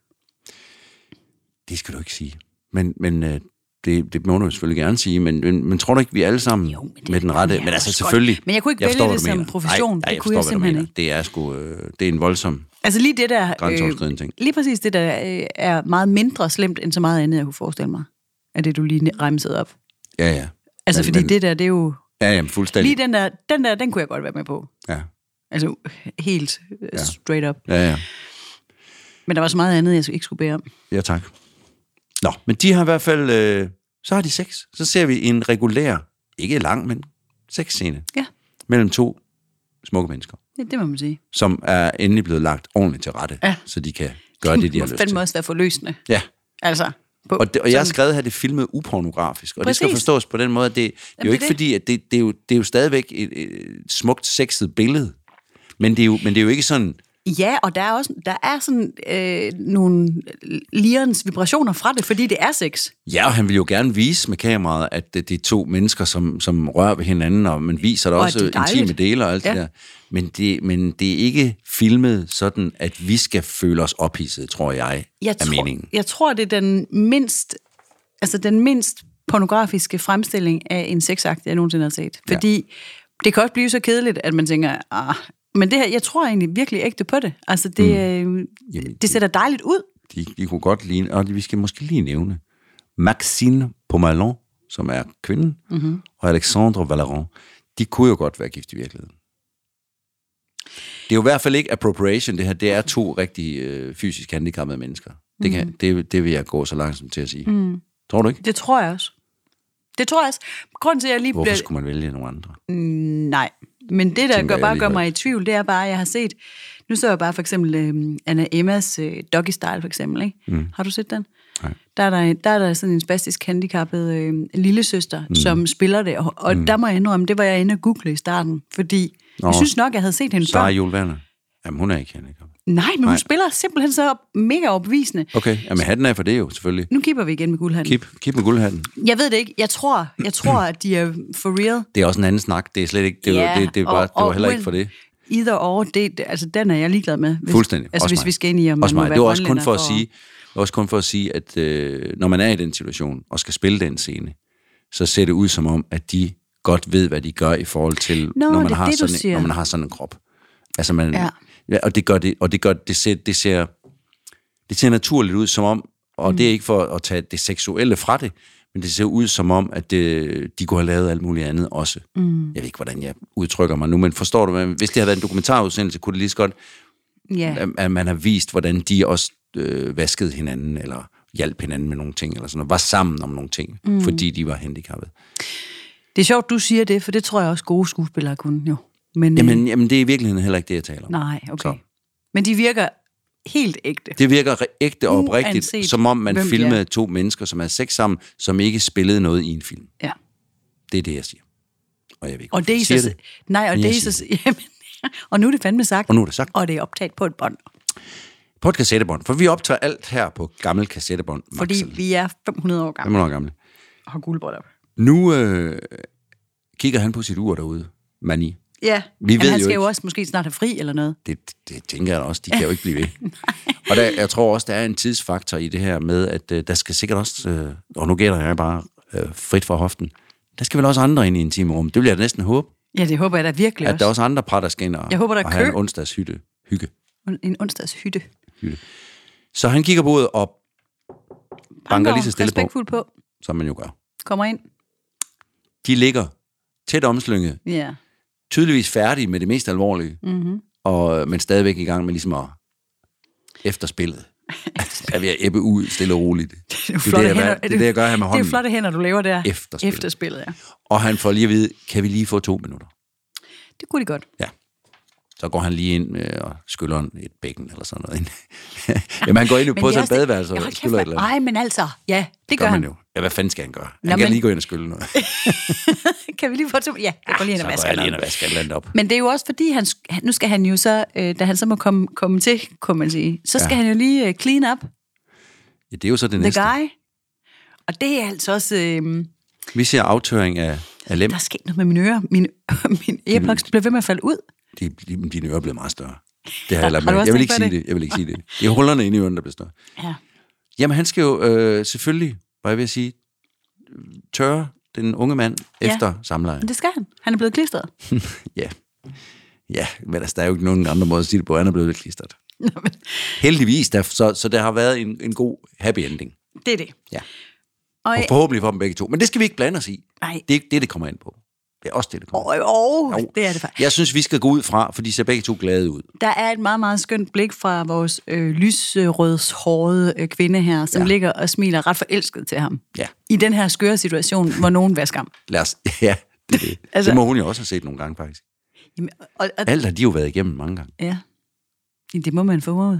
Speaker 1: Det skal du ikke sige. Men, men øh, det, det må du jo selvfølgelig gerne sige, men, men, men tror du ikke, vi alle sammen jo,
Speaker 3: men det
Speaker 1: med den
Speaker 3: kunne
Speaker 1: rette...
Speaker 3: jeg
Speaker 1: Men
Speaker 3: også
Speaker 1: altså
Speaker 3: godt.
Speaker 1: selvfølgelig...
Speaker 3: Men jeg kunne ikke
Speaker 1: jeg
Speaker 3: vælge
Speaker 1: forstår, hvad
Speaker 3: det
Speaker 1: du
Speaker 3: som
Speaker 1: mener.
Speaker 3: profession.
Speaker 1: Nej, nej,
Speaker 3: Det
Speaker 1: jeg
Speaker 3: kunne jeg
Speaker 1: forstår, hvad du
Speaker 3: simpelthen
Speaker 1: mener. Det er sgu... Øh, det er en voldsom...
Speaker 3: Altså lige det der...
Speaker 1: Grænseoverskridende ting.
Speaker 3: Lige præcis det der øh, er meget mindre slemt end så meget andet, jeg kunne forestille mig. Er det, du lige remsede op.
Speaker 1: Ja, ja.
Speaker 3: Altså,
Speaker 1: Men-
Speaker 3: fordi
Speaker 1: men-
Speaker 3: det der, det er jo...
Speaker 1: Ja, jamen, fuldstændig.
Speaker 3: Lige den der, den der, den kunne jeg godt være med på.
Speaker 1: Ja.
Speaker 3: Altså helt ja. straight up.
Speaker 1: ja, ja.
Speaker 3: Men der var så meget andet, jeg ikke skulle bære om.
Speaker 1: Ja, tak. Nå, men de har i hvert fald... Øh, så har de sex. Så ser vi en regulær, ikke lang, men sexscene
Speaker 3: Ja,
Speaker 1: mellem to smukke mennesker,
Speaker 3: det, det må man sige.
Speaker 1: som er endelig blevet lagt ordentligt til rette,
Speaker 3: Ja.
Speaker 1: så de kan gøre det, de har
Speaker 3: *laughs* Det må
Speaker 1: lyst til.
Speaker 3: fandme også være forløsende.
Speaker 1: Ja,
Speaker 3: Altså, på,
Speaker 1: og, det, og jeg har
Speaker 3: sådan-
Speaker 1: skrevet her, at det er filmet upornografisk, og Præcis. det skal
Speaker 3: Præcis.
Speaker 1: forstås på den måde, at det, det er jo
Speaker 3: det er
Speaker 1: ikke
Speaker 3: det.
Speaker 1: fordi, at det, det, er jo, det er jo stadigvæk et, et smukt, sexet billede, men det er jo, men det er jo ikke sådan...
Speaker 3: Ja, og der er også der er sådan øh, nogle lirens vibrationer fra det, fordi det er sex.
Speaker 1: Ja, og han vil jo gerne vise med kameraet, at det, det er to mennesker, som, som rører ved hinanden, og man viser der
Speaker 3: Og at
Speaker 1: også
Speaker 3: det er dejligt.
Speaker 1: intime dele og alt ja. det
Speaker 3: Ja.
Speaker 1: der. Men det, men det er ikke filmet sådan, at vi skal føle os ophidset, tror jeg,
Speaker 3: Jeg
Speaker 1: er
Speaker 3: tror,
Speaker 1: meningen.
Speaker 3: jeg tror, det er den mindst, altså den mindst pornografiske fremstilling af en sexakt, jeg nogensinde har set. Fordi ja. det kan også blive så kedeligt, at man tænker, ah, Men det her, jeg tror egentlig virkelig ægte på det. Altså, det, mm. øh,
Speaker 1: Jamen,
Speaker 3: det ser da dejligt ud.
Speaker 1: De, de kunne godt ligne, og vi skal måske lige nævne Maxine Pomalon, som er kvinden,
Speaker 3: Mhm.
Speaker 1: mm-hmm. og Alexandre Valeron. De kunne jo godt være gift i virkeligheden. Det er jo i hvert fald ikke appropriation, det her. Det er to rigtig øh, fysisk handicappede mennesker. Det,
Speaker 3: Mhm.
Speaker 1: kan, det, det vil jeg gå så langsomt til at sige. Mm. Tror du ikke?
Speaker 3: Det tror jeg også. Det tror jeg også. Grunden til, at jeg lige
Speaker 1: Hvorfor
Speaker 3: bliver...
Speaker 1: skulle man vælge nogle andre?
Speaker 3: Nej, men det, der
Speaker 1: Tænker
Speaker 3: gør,
Speaker 1: jeg
Speaker 3: bare
Speaker 1: lige
Speaker 3: gør
Speaker 1: højt.
Speaker 3: mig i tvivl, det er bare, at jeg har set... Nu så jeg bare for eksempel øh, Anna Emmas øh, Doggy Style, for eksempel. Ikke? Mm. Har du set den?
Speaker 1: Nej.
Speaker 3: Der er der, der er der sådan en spastisk handicappet øh, lille søster, mm. som spiller det. Og, og mm. der må jeg indrømme, det var jeg inde og google i starten, fordi Nå.
Speaker 1: Nå.
Speaker 3: jeg synes nok, jeg havde set hende før.
Speaker 1: Sara Jule Werner. Jamen, hun er ikke handicappet.
Speaker 3: Nej, men hun
Speaker 1: Nej.
Speaker 3: spiller simpelthen så mega overbevisende.
Speaker 1: Okay, jamen hatten er for det jo, selvfølgelig.
Speaker 3: Nu kipper vi igen med guldhanden.
Speaker 1: Kip, kip med guldhatten.
Speaker 3: Jeg ved det ikke. Jeg tror, jeg tror at de er for real.
Speaker 1: Det er også en anden snak. Det er slet ikke, det,
Speaker 3: Ja,
Speaker 1: yeah, det, det, er
Speaker 3: og-
Speaker 1: bare, det var
Speaker 3: og
Speaker 1: heller ikke
Speaker 3: uden-
Speaker 1: for det.
Speaker 3: Either or, det, det- altså, den er jeg ligeglad med. Hvis,
Speaker 1: Fuldstændig.
Speaker 3: Altså,
Speaker 1: også
Speaker 3: hvis
Speaker 1: mig.
Speaker 3: vi skal ind i, om
Speaker 1: også
Speaker 3: man må
Speaker 1: mig.
Speaker 3: være
Speaker 1: Det var også kun for at
Speaker 3: grønlænder
Speaker 1: sige, det var også kun for at sige, at øh, når man er i den situation og skal spille den scene, så ser det ud som om, at de godt ved, hvad de gør i forhold til,
Speaker 3: Nå,
Speaker 1: når, man
Speaker 3: det er
Speaker 1: har
Speaker 3: det, du
Speaker 1: sådan, en-
Speaker 3: siger.
Speaker 1: når man har sådan en krop. Altså man,
Speaker 3: Ja.
Speaker 1: ja. Ja, og det gør det, og det gør det ser, det ser, det ser naturligt ud som om, og mm. det er ikke for at tage det seksuelle fra det, men det ser ud som om, at det, de kunne have lavet alt muligt andet også. Mm. Jeg ved ikke, hvordan jeg udtrykker mig nu, men forstår du, hvad- hvis det havde været en dokumentarudsendelse, kunne det lige så godt
Speaker 3: Ja.
Speaker 1: at- at man har vist, hvordan de også øh, vaskede hinanden, eller hjalp hinanden med nogle ting, eller sådan noget, var sammen om nogle ting, mm. fordi de var handicappede.
Speaker 3: Det er sjovt, du siger det, for det tror jeg også gode skuespillere kunne jo. Men, øh,
Speaker 1: Jamen, jamen, det er i virkeligheden heller ikke det, jeg taler om.
Speaker 3: nej, okay.
Speaker 1: Så.
Speaker 3: Så. Men de virker helt ægte.
Speaker 1: Det virker re- ægte og oprigtigt,
Speaker 3: Uanset
Speaker 1: som om man
Speaker 3: hvem de er.
Speaker 1: filmede to mennesker, som havde sex sammen, som ikke spillede noget i en film.
Speaker 3: Ja.
Speaker 1: Det er det, jeg siger. Og jeg ved ikke,
Speaker 3: Og det er i
Speaker 1: hvorfor jeg
Speaker 3: sig...
Speaker 1: siger
Speaker 3: Det. Nej, og
Speaker 1: Men
Speaker 3: det er
Speaker 1: jeg
Speaker 3: i sig... *laughs* Jamen, og nu er det fandme sagt.
Speaker 1: Og nu er det sagt.
Speaker 3: Og det er optaget på et bånd.
Speaker 1: På et kassettebånd, for vi optager alt her på gammel kassettebånd.
Speaker 3: Fordi
Speaker 1: Fordi...
Speaker 3: vi er 500 år gamle
Speaker 1: Hvem er gamle?
Speaker 3: og har guldbrødder.
Speaker 1: Nu øh, kigger han på sit ur derude, Mani.
Speaker 3: Ja,
Speaker 1: Vi
Speaker 3: men
Speaker 1: ved
Speaker 3: han
Speaker 1: jo
Speaker 3: skal
Speaker 1: ikke.
Speaker 3: jo også måske snart have fri eller noget.
Speaker 1: det, det tænker jeg da også, de kan jo ikke blive
Speaker 3: *laughs*
Speaker 1: ved. og der, jeg tror også, der er en tidsfaktor i det her med, at øh, der skal sikkert også, øh, og nu gætter jeg bare øh, frit fra hoften, der skal vel også andre ind i intimrum. Det vil jeg da næsten håbe,
Speaker 3: Ja, det håber jeg da virkelig
Speaker 1: at der
Speaker 3: også.
Speaker 1: er også andre par, der skal ind og,
Speaker 3: Jeg håber, der er
Speaker 1: og have en
Speaker 3: kø.
Speaker 1: onsdags hytte, hygge.
Speaker 3: En onsdags hytte.
Speaker 1: Så han kigger på uret og banker lige så stille på,
Speaker 3: respektfuldt på.
Speaker 1: som man jo gør.
Speaker 3: Kommer ind.
Speaker 1: De ligger tæt omslynget,
Speaker 3: Ja.
Speaker 1: tydeligvis færdige med det mest alvorlige, mm-hmm. og, men stadigvæk i gang med ligesom at efterspillet.
Speaker 3: *laughs*
Speaker 1: er ved at ebbe ud stille og roligt. Det er det, jeg, gør- det, er det, jeg gør her med
Speaker 3: Det
Speaker 1: hånden.
Speaker 3: er flotte hænder, du laver der.
Speaker 1: Efterspillet.
Speaker 3: Efterspillet, ja.
Speaker 1: Og han får lige at vide, kan vi lige få to minutter?
Speaker 3: Det kunne de godt.
Speaker 1: Ja. Så går han lige ind øh, og skyller en- et bækken eller sådan noget. ind. *laughs* Jamen, han går ind på
Speaker 3: det er
Speaker 1: sådan et
Speaker 3: også det-
Speaker 1: badeværelse
Speaker 3: Ja,
Speaker 1: og
Speaker 3: hold kæft,
Speaker 1: skyller et eller andet.
Speaker 3: Nej, men altså, ja, det gør,
Speaker 1: gør man
Speaker 3: han.
Speaker 1: jo. Ja, hvad fanden skal han gøre? Han
Speaker 3: Nå,
Speaker 1: kan
Speaker 3: men-
Speaker 1: lige gå ind og skylle noget.
Speaker 3: Kan vi lige få to? Ja, jeg går lige ind
Speaker 1: Ah, Så
Speaker 3: og
Speaker 1: går
Speaker 3: vasker
Speaker 1: jeg lige ind og
Speaker 3: noget.
Speaker 1: vasker et eller andet op.
Speaker 3: Men det er jo også fordi, han, sk- han- nu skal han jo så, øh, da han så må komme, komme til, kunne man sige, så skal ja. han jo lige øh, clean up
Speaker 1: Ja, det er jo så det
Speaker 3: the
Speaker 1: næste.
Speaker 3: guy. Og det er altså også, øh,
Speaker 1: Vi ser aftøring af, af lem.
Speaker 3: der er sket noget med mine ører. Min, *laughs* min earplugs bliver ved med at falde ud.
Speaker 1: De, de, dine ører bliver meget større. Det har jeg lagt
Speaker 3: Har du
Speaker 1: med.
Speaker 3: også
Speaker 1: Jeg vil
Speaker 3: tænkt
Speaker 1: ikke
Speaker 3: på
Speaker 1: sige det. Jeg vil ikke sige det. Det er hullerne inde i ørerne, der bliver større.
Speaker 3: Ja.
Speaker 1: Jamen, han skal jo øh, selvfølgelig, var jeg ved at sige, tørre den unge mand
Speaker 3: Ja.
Speaker 1: efter samleje.
Speaker 3: Men det skal han. Han er blevet klistret.
Speaker 1: Ja. Ja, men altså, der er jo ikke nogen andre måde at sige det på, han er blevet lidt klistret.
Speaker 3: *laughs* Nå, men,
Speaker 1: Heldigvis, der, så, så der har været en, en god happy ending.
Speaker 3: det er det.
Speaker 1: Ja.
Speaker 3: Og,
Speaker 1: Og forhåbentlig for dem begge to. Men det skal vi ikke blande os i.
Speaker 3: Nej.
Speaker 1: Det er ikke det, det kommer ind på. Det er også det, det kommer
Speaker 3: og, og,
Speaker 1: Jo.
Speaker 3: det er det faktisk.
Speaker 1: Jeg synes, vi skal gå ud fra, for de ser begge to glade ud.
Speaker 3: Der er et meget, meget skønt blik fra vores øh, lysrødshårede øh, kvinde her, som ja. ligger og smiler ret forelsket til ham.
Speaker 1: Ja.
Speaker 3: I den her skøre situation, hvor nogen vasker ham.
Speaker 1: Lad os, *laughs* ja, det, det. altså,
Speaker 3: Altså-
Speaker 1: det må hun jo også have set nogle gange, faktisk.
Speaker 3: Jamen, og, og,
Speaker 1: Alt har de jo været igennem mange gange.
Speaker 3: ja. Jamen, Det må man få ud.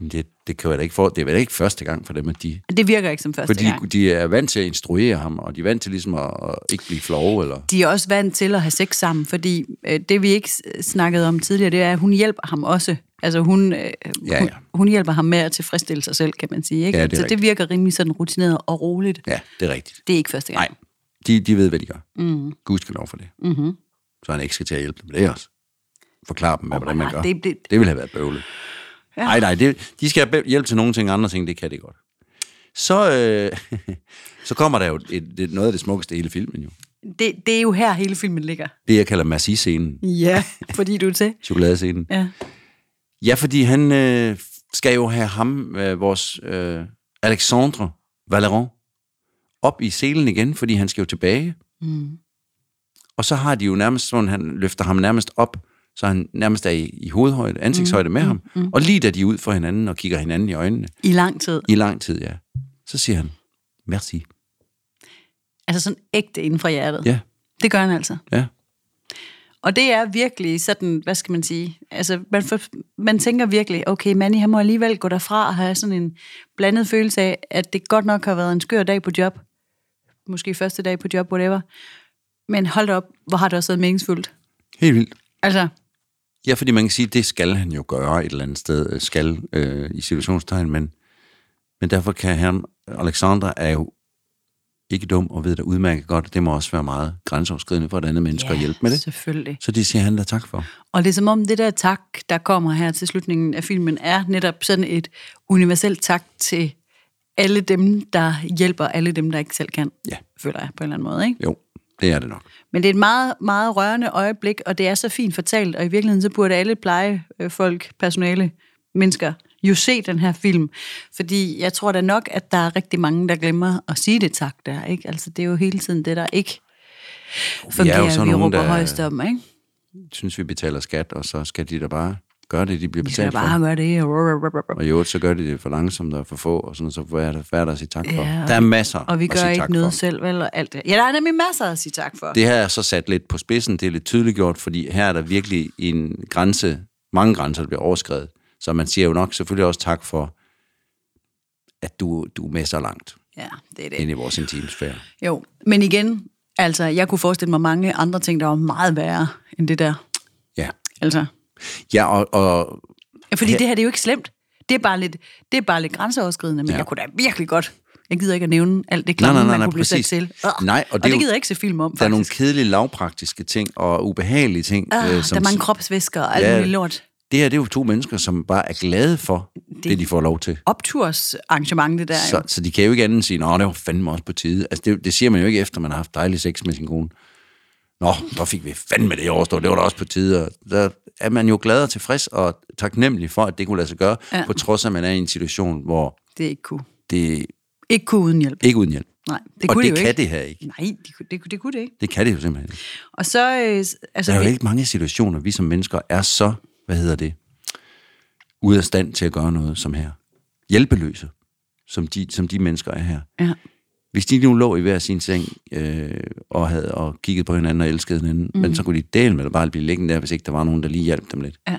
Speaker 1: Jamen, det, det kan jeg da ikke for. Det er vel ikke første gang for dem, at de...
Speaker 3: Det virker ikke som første
Speaker 1: Fordi
Speaker 3: gang.
Speaker 1: de er vant til at instruere ham, og de er vant til ligesom at, at ikke blive flove, eller...
Speaker 3: De er også vant til at have sex sammen, fordi øh, det vi ikke s- snakkede om tidligere, det er, at hun hjælper ham også. Altså hun, øh,
Speaker 1: ja.
Speaker 3: hun, hun hjælper ham med at tilfredsstille sig selv, kan man sige. Ikke?
Speaker 1: Ja, det er
Speaker 3: Så
Speaker 1: rigtigt.
Speaker 3: det virker rimelig sådan rutineret og roligt.
Speaker 1: Ja, det er rigtigt.
Speaker 3: Det er ikke første gang.
Speaker 1: Nej, de, de ved, hvad de gør. Mm. Gud skal lov for det. Mm-hmm. Så han ikke skal til at hjælpe dem med det også. Forklare dem, oh, hvordan man
Speaker 3: God,
Speaker 1: gør.
Speaker 3: det- det-
Speaker 1: det ville have været bøvlet. Ja. Nej, nej, det, de skal have hjælp til nogle ting, andre ting, det kan *laughs* det godt. Så, øh, så kommer der jo et, et, noget af det smukkeste i hele filmen jo.
Speaker 3: Det, det er jo her, hele filmen ligger.
Speaker 1: Det, jeg kalder Massi-scenen,
Speaker 3: Ja, *laughs* fordi du er til.
Speaker 1: chokoladescenen.
Speaker 3: Ja.
Speaker 1: Ja, fordi han øh, skal jo have ham, øh, vores øh, Alexandre Valeron, op i selen igen, fordi han skal jo tilbage. Mm. Og så har de jo nærmest sådan, han løfter ham nærmest op, så han nærmest er i, i hovedhøjde, ansigtshøjde mm. med ham. Mm. Og lige da de er ud for hinanden og kigger hinanden i øjnene,
Speaker 3: I lang tid.
Speaker 1: i lang tid, ja, så siger han, merci.
Speaker 3: Altså sådan ægte inden for hjertet.
Speaker 1: Ja,
Speaker 3: Det gør han altså.
Speaker 1: ja.
Speaker 3: Og det er virkelig sådan, hvad skal man sige, altså man, for, man tænker virkelig, okay, Manny, han må alligevel gå derfra og have sådan en blandet følelse af, at det godt nok har været en skør dag på job. Måske første dag på job, whatever. Men hold da op, hvor har det også været meningsfuldt.
Speaker 1: Helt vildt.
Speaker 3: Altså,
Speaker 1: Ja, fordi man kan sige, at det skal han jo gøre et eller andet sted, øh, skal øh, i situationstegn, men, men derfor kan han, Alexander er jo ikke dum og ved det udmærket godt, at det må også være meget grænseoverskridende for et andet menneske at hjælpe med det.
Speaker 3: selvfølgelig.
Speaker 1: Så det siger han da tak for.
Speaker 3: Og det er som om det der tak, der kommer her til slutningen af filmen, er netop sådan et universelt tak til alle dem, der hjælper alle dem, der ikke selv kan,
Speaker 1: Ja.
Speaker 3: føler jeg på en eller anden måde. Ikke?
Speaker 1: Jo, det er det nok.
Speaker 3: Men det er et meget, meget rørende øjeblik, og det er så fint fortalt, og i virkeligheden så burde alle plejefolk, personale, mennesker, jo se den her film. Fordi jeg tror da nok, at der er rigtig mange, der glemmer at sige det tak der, ikke? Altså, det er jo hele tiden det, der ikke fungerer, vi,
Speaker 1: sådan
Speaker 3: vi
Speaker 1: nogen,
Speaker 3: råber
Speaker 1: der-
Speaker 3: højst om, ikke?
Speaker 1: Synes vi betaler skat, og så skal de da bare gøre det, de bliver
Speaker 3: Vi skal da
Speaker 1: betalt
Speaker 3: bare
Speaker 1: for.
Speaker 3: gøre det.
Speaker 1: Og i øvrigt, så gør de det for langsomt og for få, og sådan, så hvad er der, hvad er der at sige tak for?
Speaker 3: Ja,
Speaker 1: der er masser
Speaker 3: Og vi
Speaker 1: at
Speaker 3: gør
Speaker 1: sige
Speaker 3: ikke
Speaker 1: tak
Speaker 3: noget
Speaker 1: for.
Speaker 3: selv, vel, og alt det. Ja, der er nemlig masser at sige tak for. Det.
Speaker 1: Det her er så sat lidt på spidsen, det er lidt tydeliggjort, fordi her er der virkelig en grænse, mange grænser, der bliver overskrevet. Så man siger jo nok selvfølgelig også tak for, at du, du er med så langt
Speaker 3: Ja, det er det.
Speaker 1: ind i vores intimsfære.
Speaker 3: Jo, men igen, altså, jeg kunne forestille mig mange andre ting, der var meget værre end det der.
Speaker 1: Ja,
Speaker 3: Altså,
Speaker 1: ja og, og
Speaker 3: Ja, fordi det her det er jo ikke slemt. Det er bare lidt, det er bare lidt grænseoverskridende, men ja. jeg kunne da virkelig godt... Jeg gider ikke at nævne alt det klamme,
Speaker 1: Nej, nej, nej,
Speaker 3: man
Speaker 1: nej,
Speaker 3: kunne blive sat
Speaker 1: præcis.
Speaker 3: til. Ugh.
Speaker 1: Nej, og
Speaker 3: og
Speaker 1: det
Speaker 3: det,
Speaker 1: er jo-
Speaker 3: gider jeg ikke se film om, faktisk.
Speaker 1: der er nogle kedelige lavpraktiske ting og ubehagelige ting. øh,
Speaker 3: Ah, der er mange kropsvæsker og alt
Speaker 1: Ja.
Speaker 3: ja. muligt lort.
Speaker 1: Det her det er jo to mennesker, som bare er glade for det, det de får lov til.
Speaker 3: Optursarrangement, det der.
Speaker 1: Så,
Speaker 3: Så.
Speaker 1: så de kan jo ikke andet end sige, at det var fandme også på tide. Altså, det, det siger man jo ikke efter, man har haft dejlig sex med sin kone. Nå, der fik vi fandme det overstået, det var da også på tide. Og der er man jo glad og tilfreds og taknemmelig for, at det kunne lade sig gøre, ja.
Speaker 3: Ja.
Speaker 1: på trods af, at man er i en situation, hvor
Speaker 3: Det ikke kunne.
Speaker 1: det
Speaker 3: Ikke kunne uden hjælp.
Speaker 1: ikke uden hjælp.
Speaker 3: Nej, det
Speaker 1: og
Speaker 3: kunne
Speaker 1: det
Speaker 3: det jo
Speaker 1: kan
Speaker 3: ikke.
Speaker 1: det her ikke.
Speaker 3: Nej, det, kunne- det, kunne- det kunne det ikke.
Speaker 1: Det kan det jo simpelthen ikke.
Speaker 3: Og så... Øh, s- altså,
Speaker 1: Der er jo
Speaker 3: vi-
Speaker 1: ikke mange situationer, vi som mennesker er så, hvad hedder det, ude af stand til at gøre noget som her. Hjælpeløse, som de, som de mennesker er her.
Speaker 3: Ja.
Speaker 1: Hvis de nu lå i hver sin seng øh, og havde og kigget på hinanden og elskede hinanden,
Speaker 3: Mhm.
Speaker 1: mm. men så kunne de dele med det bare blive liggende der, hvis ikke der var nogen, der lige hjalp dem lidt.
Speaker 3: Ja.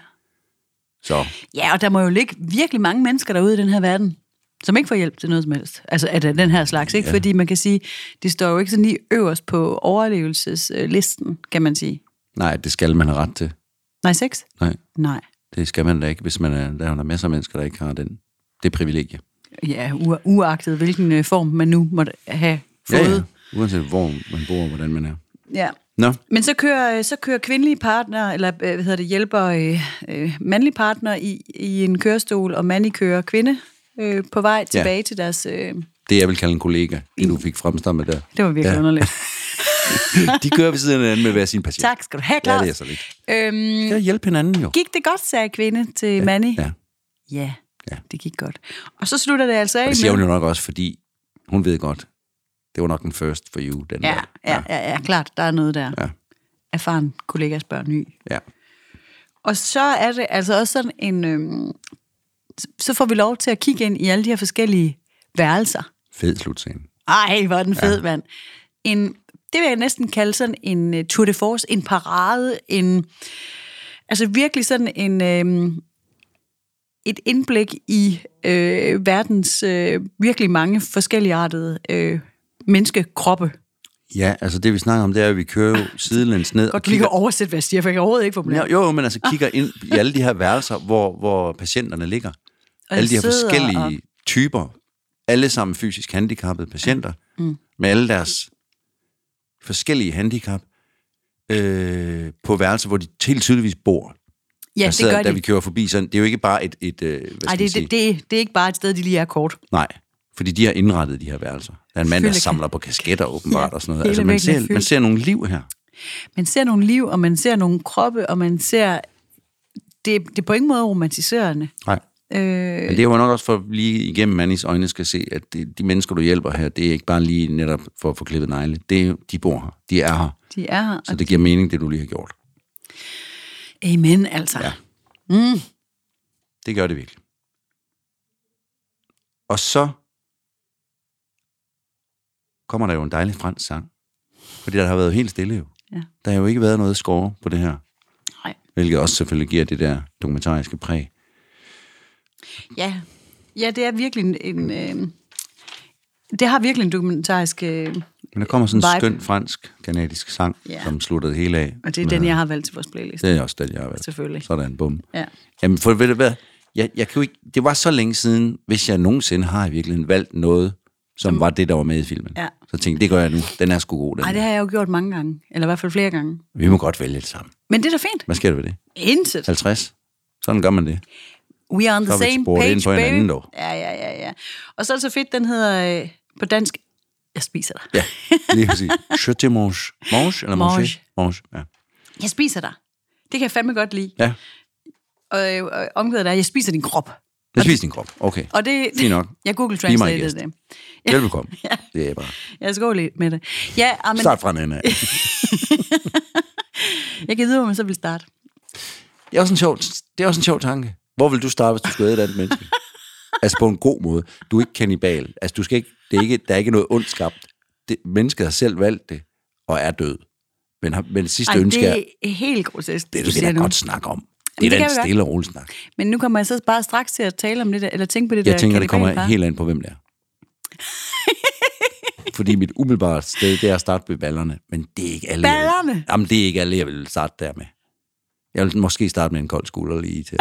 Speaker 1: Så
Speaker 3: ja, og der må jo ligge virkelig mange mennesker derude i den her verden, som ikke får hjælp til noget som helst. Altså at af den her slags, ikke? Ja. Fordi man kan sige, det står jo ikke sådan lige øverst på overlevelseslisten, kan man sige.
Speaker 1: nej, det skal man have ret til.
Speaker 3: Nej, sex?
Speaker 1: Nej,
Speaker 3: Nej.
Speaker 1: det skal man da ikke, hvis man er, der er der masser af mennesker, der ikke har den, det privilegie.
Speaker 3: Ja, u- uagtet hvilken øh, form man nu måtte have fået.
Speaker 1: Ja, ja. Uanset hvor man bor og hvordan man er.
Speaker 3: ja.
Speaker 1: Nå,
Speaker 3: Men så kører, øh, så kører kvindelige partner, eller øh, hvad hedder det, hjælper øh, øh, mandlige partner i, i en kørestol, og mandlig kører kvinde øh, på vej tilbage til deres... Øh,
Speaker 1: det jeg vil kalde en kollega, det du fik fremstammet der.
Speaker 3: det var virkelig ja.
Speaker 1: *laughs*
Speaker 3: underligt.
Speaker 1: De kører ved siden af hinanden med hver sin patient.
Speaker 3: Tak skal du have, Claus.
Speaker 1: Ja, det er så lidt.
Speaker 3: Øhm,
Speaker 1: Skal hjælpe hinanden jo.
Speaker 3: gik det godt, sagde kvinde til ja. Manny?
Speaker 1: Ja,
Speaker 3: ja.
Speaker 1: Ja.
Speaker 3: det gik godt. Og så slutter det altså af
Speaker 1: og det siger hun
Speaker 3: med-
Speaker 1: jo nok også, fordi hun ved godt, det var nok den first for you, den
Speaker 3: Ja,
Speaker 1: der.
Speaker 3: ja, ja, ja, klart, der er noget der.
Speaker 1: Ja.
Speaker 3: Erfaren kollegas børn ny.
Speaker 1: ja.
Speaker 3: Og så er det altså også sådan en... Øhm, så får vi lov til at kigge ind i alle de her forskellige værelser.
Speaker 1: Fed slutscene.
Speaker 3: Ej, hvor er den fed, ja. mand. En, det vil jeg næsten kalde sådan en uh, tour de force, en parade, en... Altså virkelig sådan en... Øhm, et indblik i øh, verdens øh, virkelig mange forskelligartede øh, menneskekroppe.
Speaker 1: Ja, altså det vi snakker om, det er, at vi kører jo
Speaker 3: *coughs*
Speaker 1: sidelæns ned og
Speaker 3: Godt lige Ah.
Speaker 1: kigger...
Speaker 3: at oversætte, hvad jeg siger, for jeg kan overhovedet ikke få
Speaker 1: Jo, jo, men altså kigger ind i alle de her værelser, hvor, hvor patienterne ligger. Og alle de her
Speaker 3: sidder
Speaker 1: forskellige og... typer. Alle sammen fysisk handicappede patienter. Mm. Med alle deres forskellige handicap. Øh, på værelser, hvor de helt tydeligvis bor.
Speaker 3: Ja,
Speaker 1: der
Speaker 3: det
Speaker 1: sidder,
Speaker 3: gør
Speaker 1: da
Speaker 3: de.
Speaker 1: vi kører forbi, sådan, det er jo ikke bare et, et øh, hvad skal
Speaker 3: Ej,
Speaker 1: man
Speaker 3: det,
Speaker 1: sige?
Speaker 3: det, det, det er ikke bare et sted, de lige er kort.
Speaker 1: Nej, fordi de har indrettet de her værelser. Der er en mand, der
Speaker 3: Fyldekan-
Speaker 1: samler på kasketter åbenbart ja, og sådan noget.
Speaker 3: hele
Speaker 1: Altså, man
Speaker 3: væggen er
Speaker 1: ser,
Speaker 3: fyldt.
Speaker 1: man ser nogle liv her.
Speaker 3: Man ser nogle liv, og man ser nogle kroppe, og man ser... Det, det er på ingen måde romantiserende.
Speaker 1: Nej.
Speaker 3: Øh,
Speaker 1: Men det er jo nok også for at lige igennem mandens øjne skal se, at det, de mennesker, du hjælper her, det er ikke bare lige netop for at få klippet negle. Det er, jo- de bor her. De er her.
Speaker 3: de er her,
Speaker 1: Så det giver mening, det du lige har gjort.
Speaker 3: og amen altså.
Speaker 1: Ja.
Speaker 3: Ja.
Speaker 1: Det gør det virkelig. Og så kommer der jo en dejlig fransk sang. Fordi der har været helt stille jo.
Speaker 3: Ja.
Speaker 1: Der har jo ikke været noget skove på det her.
Speaker 3: Nej.
Speaker 1: Hvilket også selvfølgelig giver det der dokumentariske præg.
Speaker 3: Ja. ja, det er virkelig en... en øh, det har virkelig en dokumentarisk... Øh,
Speaker 1: Men der kommer sådan en
Speaker 3: Vibe.
Speaker 1: skøn fransk-kanadisk sang,
Speaker 3: Ja.
Speaker 1: som slutter det hele af.
Speaker 3: og det er den, jeg Altså- har valgt til vores playlist.
Speaker 1: Det er også den, jeg har været.
Speaker 3: Selvfølgelig.
Speaker 1: Sådan, bum.
Speaker 3: Ja.
Speaker 1: Jamen, for ved du hvad? Jeg, jeg kan jo ikke, det var så længe siden, hvis jeg nogensinde har i virkeligheden valgt noget, som var det, der var med i filmen.
Speaker 3: Ja.
Speaker 1: Så tænkte jeg, det gør jeg nu. Den er sgu god, den.
Speaker 3: Ej, det har jeg jo gjort mange gange. Eller i hvert fald flere gange.
Speaker 1: Vi må godt vælge det sammen.
Speaker 3: Men det er da fint.
Speaker 1: Hvad sker der ved det?
Speaker 3: Intet.
Speaker 1: 50? Sådan gør man det.
Speaker 3: We are on the
Speaker 1: Så er vi
Speaker 3: same
Speaker 1: sporet
Speaker 3: page,
Speaker 1: ind på
Speaker 3: baby.
Speaker 1: hinanden, dog.
Speaker 3: Ja, ja, ja, ja. Og så er det så fedt, den hedder øh, på dansk, Jeg spiser dig.
Speaker 1: Ja, lige
Speaker 3: *laughs*
Speaker 1: præcis. Je te mange. Mange eller mange?
Speaker 3: Mange.
Speaker 1: Mange, ja.
Speaker 3: Jeg spiser dig. Det kan jeg fandme godt lide.
Speaker 1: Ja,
Speaker 3: Og, øh, og omkvædet er, jeg spiser din krop.
Speaker 1: jeg spiser din krop. Okay.
Speaker 3: Og det,
Speaker 1: Fint nok.
Speaker 3: *laughs* jeg Google
Speaker 1: Be my
Speaker 3: Translated
Speaker 1: guest.
Speaker 3: det. *laughs*
Speaker 1: Velbekomme. Det er bare.
Speaker 3: Jeg skal lidt med det. Ja, ah, men
Speaker 1: Start fra en ende af.
Speaker 3: jeg kan vide, hvor man så vil starte.
Speaker 1: Det er også en sjov, det er også en sjov tanke. Hvor vil du starte, hvis du skulle æde et andet *laughs* menneske? altså på en god måde. Du er ikke kannibal. Altså du skal ikke, det er ikke, der er ikke noget ondt skabt. Det, mennesket har selv valgt det, og er død. Men, har- men det sidste
Speaker 3: Ej,
Speaker 1: Ej, ønske er,
Speaker 3: det er helt grotesk,
Speaker 1: det
Speaker 3: du
Speaker 1: du kan
Speaker 3: siger
Speaker 1: da
Speaker 3: nu.
Speaker 1: godt snakke om.
Speaker 3: Jamen,
Speaker 1: Det er da
Speaker 3: det kan vi
Speaker 1: en
Speaker 3: godt.
Speaker 1: stille og rolig snak.
Speaker 3: Men nu kommer jeg så bare straks til at tale om det der, eller tænke på det der
Speaker 1: Jeg tænker, det kommer
Speaker 3: kanibalpar.
Speaker 1: helt an på, hvem det er. Fordi mit umiddelbare sted, det er at starte med ballerne. Men det er ikke alle. jeg vil-
Speaker 3: Ballerne?
Speaker 1: Jamen, det er ikke alle, jeg vil starte der med. Jeg vil måske starte med en kold skulder lige til.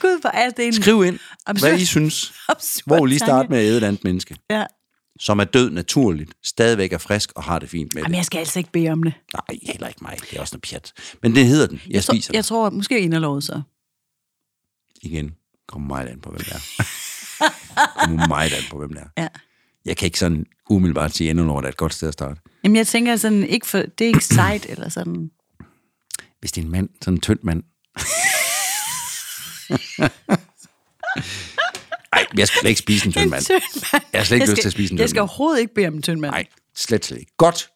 Speaker 3: Gud, hvor er det en
Speaker 1: Skriv ind, hvad
Speaker 3: Absurd.
Speaker 1: I synes.
Speaker 3: absurd
Speaker 1: Hvor lige
Speaker 3: tanke.
Speaker 1: starte med at æde et andet menneske,
Speaker 3: Ja.
Speaker 1: som er død naturligt, stadigvæk er frisk og har det fint med det.
Speaker 3: Jamen, jeg skal altså ikke bede om det.
Speaker 1: Nej, heller ikke mig. Det er også noget pjat. Men det hedder den. Jeg, jeg
Speaker 3: Så,
Speaker 1: spiser
Speaker 3: jeg
Speaker 1: jeg...
Speaker 3: tror, måske inderlovet så.
Speaker 1: Igen. Kommer meget an på, hvem det er.
Speaker 3: *laughs*
Speaker 1: Kommer meget an på, hvem det er.
Speaker 3: Ja.
Speaker 1: Jeg kan ikke sådan umiddelbart sige, at er et godt sted at starte.
Speaker 3: Jamen, jeg tænker sådan, ikke for, det er
Speaker 1: *clears throat*
Speaker 3: ikke sejt eller sådan.
Speaker 1: Hvis det er en mand, sådan en tynd
Speaker 3: *laughs*
Speaker 1: mand. Nej, jeg skal slet ikke spise en tynd
Speaker 3: *laughs*
Speaker 1: mand.
Speaker 3: tyndmand.
Speaker 1: Jeg har slet ikke lyst til at spise en
Speaker 3: Jeg
Speaker 1: tynd
Speaker 3: skal
Speaker 1: mand.
Speaker 3: overhovedet ikke bede om en tynd mand.
Speaker 1: Nej, slet slet ikke. Godt.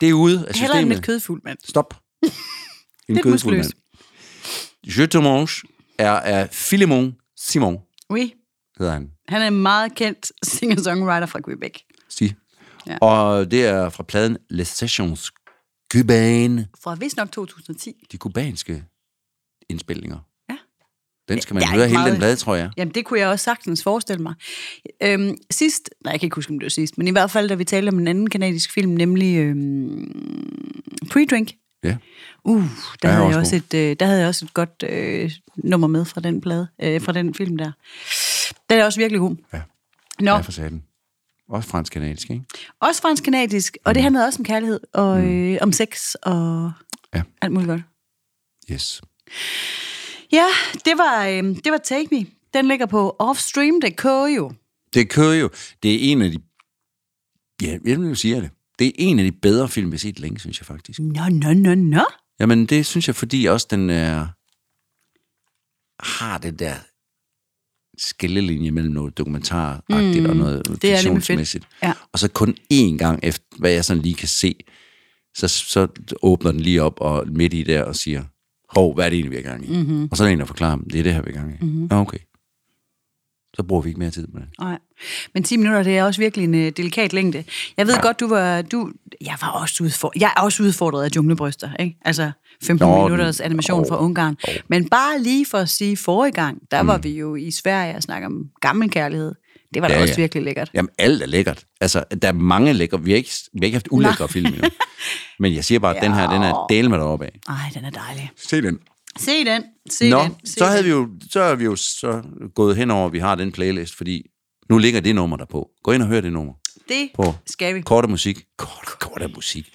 Speaker 1: Det er ude af
Speaker 3: Heller en
Speaker 1: systemet.
Speaker 3: lidt kødfuld mand.
Speaker 1: Stop. En
Speaker 3: *laughs* Lidt
Speaker 1: kødfuld mand.
Speaker 3: muskuløs.
Speaker 1: Je te mange er af Philemon Simon,
Speaker 3: Oui.
Speaker 1: hedder han.
Speaker 3: Han er en meget kendt singer-songwriter fra Quebec.
Speaker 1: Sig. Ja.
Speaker 3: Ja.
Speaker 1: Og det er fra pladen Les Sessions Cubaine.
Speaker 3: Fra vist nok 2010.
Speaker 1: De kubanske indspilninger.
Speaker 3: Ja.
Speaker 1: Den skal man
Speaker 3: Der er
Speaker 1: høre
Speaker 3: ikke
Speaker 1: hele den
Speaker 3: meget-
Speaker 1: plade, tror jeg.
Speaker 3: Jamen, det kunne jeg også sagtens forestille mig. Øhm, sidst, nej, jeg kan ikke huske, om det var sidst, men i hvert fald, da vi talte om en anden kanadisk film, nemlig øhm, Pre-Drink.
Speaker 1: Ja.
Speaker 3: Uh, der,
Speaker 1: Ja,
Speaker 3: havde jeg
Speaker 1: også
Speaker 3: også et, øh, der havde jeg også et godt øh, nummer med fra den plade, øh, fra den film der. Den er også virkelig god.
Speaker 1: Ja.
Speaker 3: Nå,
Speaker 1: Ja, for satan. Også fransk-kanadisk, ikke?
Speaker 3: Også fransk-kanadisk,
Speaker 1: Mm.
Speaker 3: og det handlede også om kærlighed og øh, om sex og
Speaker 1: Ja.
Speaker 3: alt muligt godt.
Speaker 1: Yes.
Speaker 3: Ja, det var, øh, det var Take Me. Den ligger på offstream.dk jo.
Speaker 1: Det kører jo. Det er en af de... Ja, jeg vil sige det. Det er en af de bedre film, jeg har set længe, synes jeg faktisk.
Speaker 3: Nå, nå, nå, nå.
Speaker 1: Jamen, det synes jeg, fordi også den er, har den der skillelinje mellem noget dokumentaragtigt mm, og noget
Speaker 3: det er nemlig fedt.
Speaker 1: fiktionsmæssigt.
Speaker 3: Ja.
Speaker 1: Og så kun én gang efter, hvad jeg sådan lige kan se, så, så åbner den lige op og midt i der og siger, hov, hvad er det egentlig, vi er i gang i?
Speaker 3: Mhm.
Speaker 1: Mm-hmm. Og så er der en, der forklarer, det er det her, vi er i gang i. Mm-hmm. Nå, okay. Så bruger vi ikke mere tid med det.
Speaker 3: Nej. Men 10 minutter, det er også virkelig en øh, delikat længde. Jeg ved godt, du var... Du, jeg var også udfordret. Jeg er også udfordret af junglebryster, ikke? Altså 15
Speaker 1: Nå,
Speaker 3: Nå,
Speaker 1: den-
Speaker 3: minutters animation
Speaker 1: åh,
Speaker 3: fra Ungarn. Men bare lige for at sige, forrige gang, der mm. var vi jo i Sverige og snakkede om gammel kærlighed. Det var da
Speaker 1: Ja,
Speaker 3: ja, også
Speaker 1: ja.
Speaker 3: virkelig lækkert.
Speaker 1: Jamen, alt er lækkert. Altså, der er mange lækre. Vi har ikke, vi har ikke haft ulækre film
Speaker 3: *laughs*
Speaker 1: endnu. Men jeg siger bare, at den her, den er del med deroppe af.
Speaker 3: Ej, den er dejlig.
Speaker 1: Se den.
Speaker 3: Se den. Se
Speaker 1: Nå,
Speaker 3: den. Se
Speaker 1: så havde
Speaker 3: den.
Speaker 1: vi jo, så er vi jo så gået hen over, at vi har den playlist, fordi nu ligger det nummer der på. Gå ind og hør det nummer.
Speaker 3: Det
Speaker 1: På.
Speaker 3: skal vi.
Speaker 1: Kort og musik. Kort, kort og musik.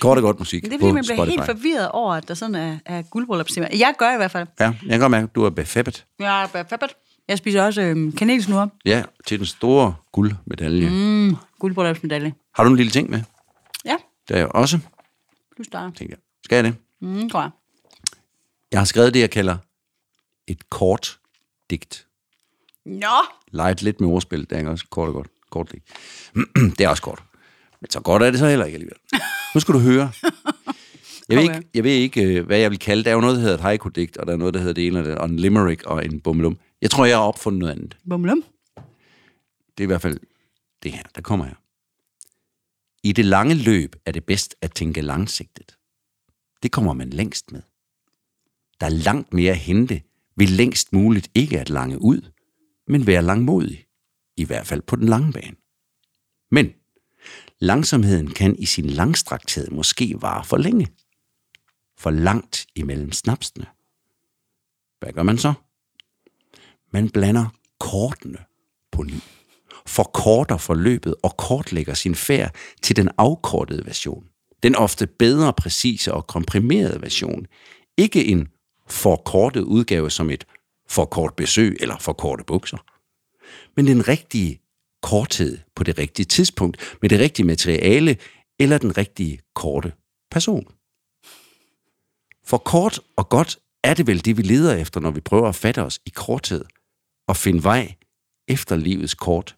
Speaker 1: Kort og godt
Speaker 3: *laughs*
Speaker 1: musik
Speaker 3: Det er fordi,
Speaker 1: på
Speaker 3: man bliver
Speaker 1: Spotify.
Speaker 3: helt forvirret over, at der sådan er, er guldbrøllupstimer. Jeg gør i hvert fald.
Speaker 1: Ja, jeg kan godt mærke, at du er befæbbet.
Speaker 3: Jeg er befæbbet. Jeg spiser også øhm, kanelsnure.
Speaker 1: Ja, til den store guldmedalje. Mm.
Speaker 3: Mm, guldbryllupsmedalje.
Speaker 1: Har du en lille ting med?
Speaker 3: Ja,
Speaker 1: Der er jeg også,
Speaker 3: du starter.
Speaker 1: tænker jeg. Skal jeg det?
Speaker 3: Mm, tror jeg.
Speaker 1: Jeg har skrevet det, jeg kalder et kort digt.
Speaker 3: Nå,
Speaker 1: Leget lidt med ordspil, det er ikke også kort og godt. Kort digt. *clears throat* det er også kort. Men så godt er det så heller ikke alligevel. Nu skal du høre. Jeg ved,
Speaker 3: Okay.
Speaker 1: ikke, jeg ved ikke, øh, hvad jeg vil kalde det. Der er jo noget, der hedder et haiku-digt, og der er noget, der hedder det ene og det andet, og en limerick og en bummelum. Jeg tror, jeg har opfundet noget andet.
Speaker 3: bumlum.
Speaker 1: Det er i hvert fald det her, der kommer her. I det lange løb er det bedst at tænke langsigtet. Det kommer man længst med. Der er langt mere at hente ved længst muligt ikke at lange ud, men være langmodig. I hvert fald på den lange bane. Men langsomheden kan i sin langstrakthed måske vare for længe. For langt imellem snapsene. Hvad gør man så? Man blander kortene på ny forkorter forløbet og kortlægger sin færd til den afkortede version. Den ofte bedre, præcise og komprimerede version. Ikke en forkortet udgave som et forkort besøg eller forkorte bukser. Men den rigtige korthed på det rigtige tidspunkt, med det rigtige materiale eller den rigtige korte person. For kort og godt er det vel det, vi leder efter, når vi prøver at fatte os i korthed og finde vej efter livets kort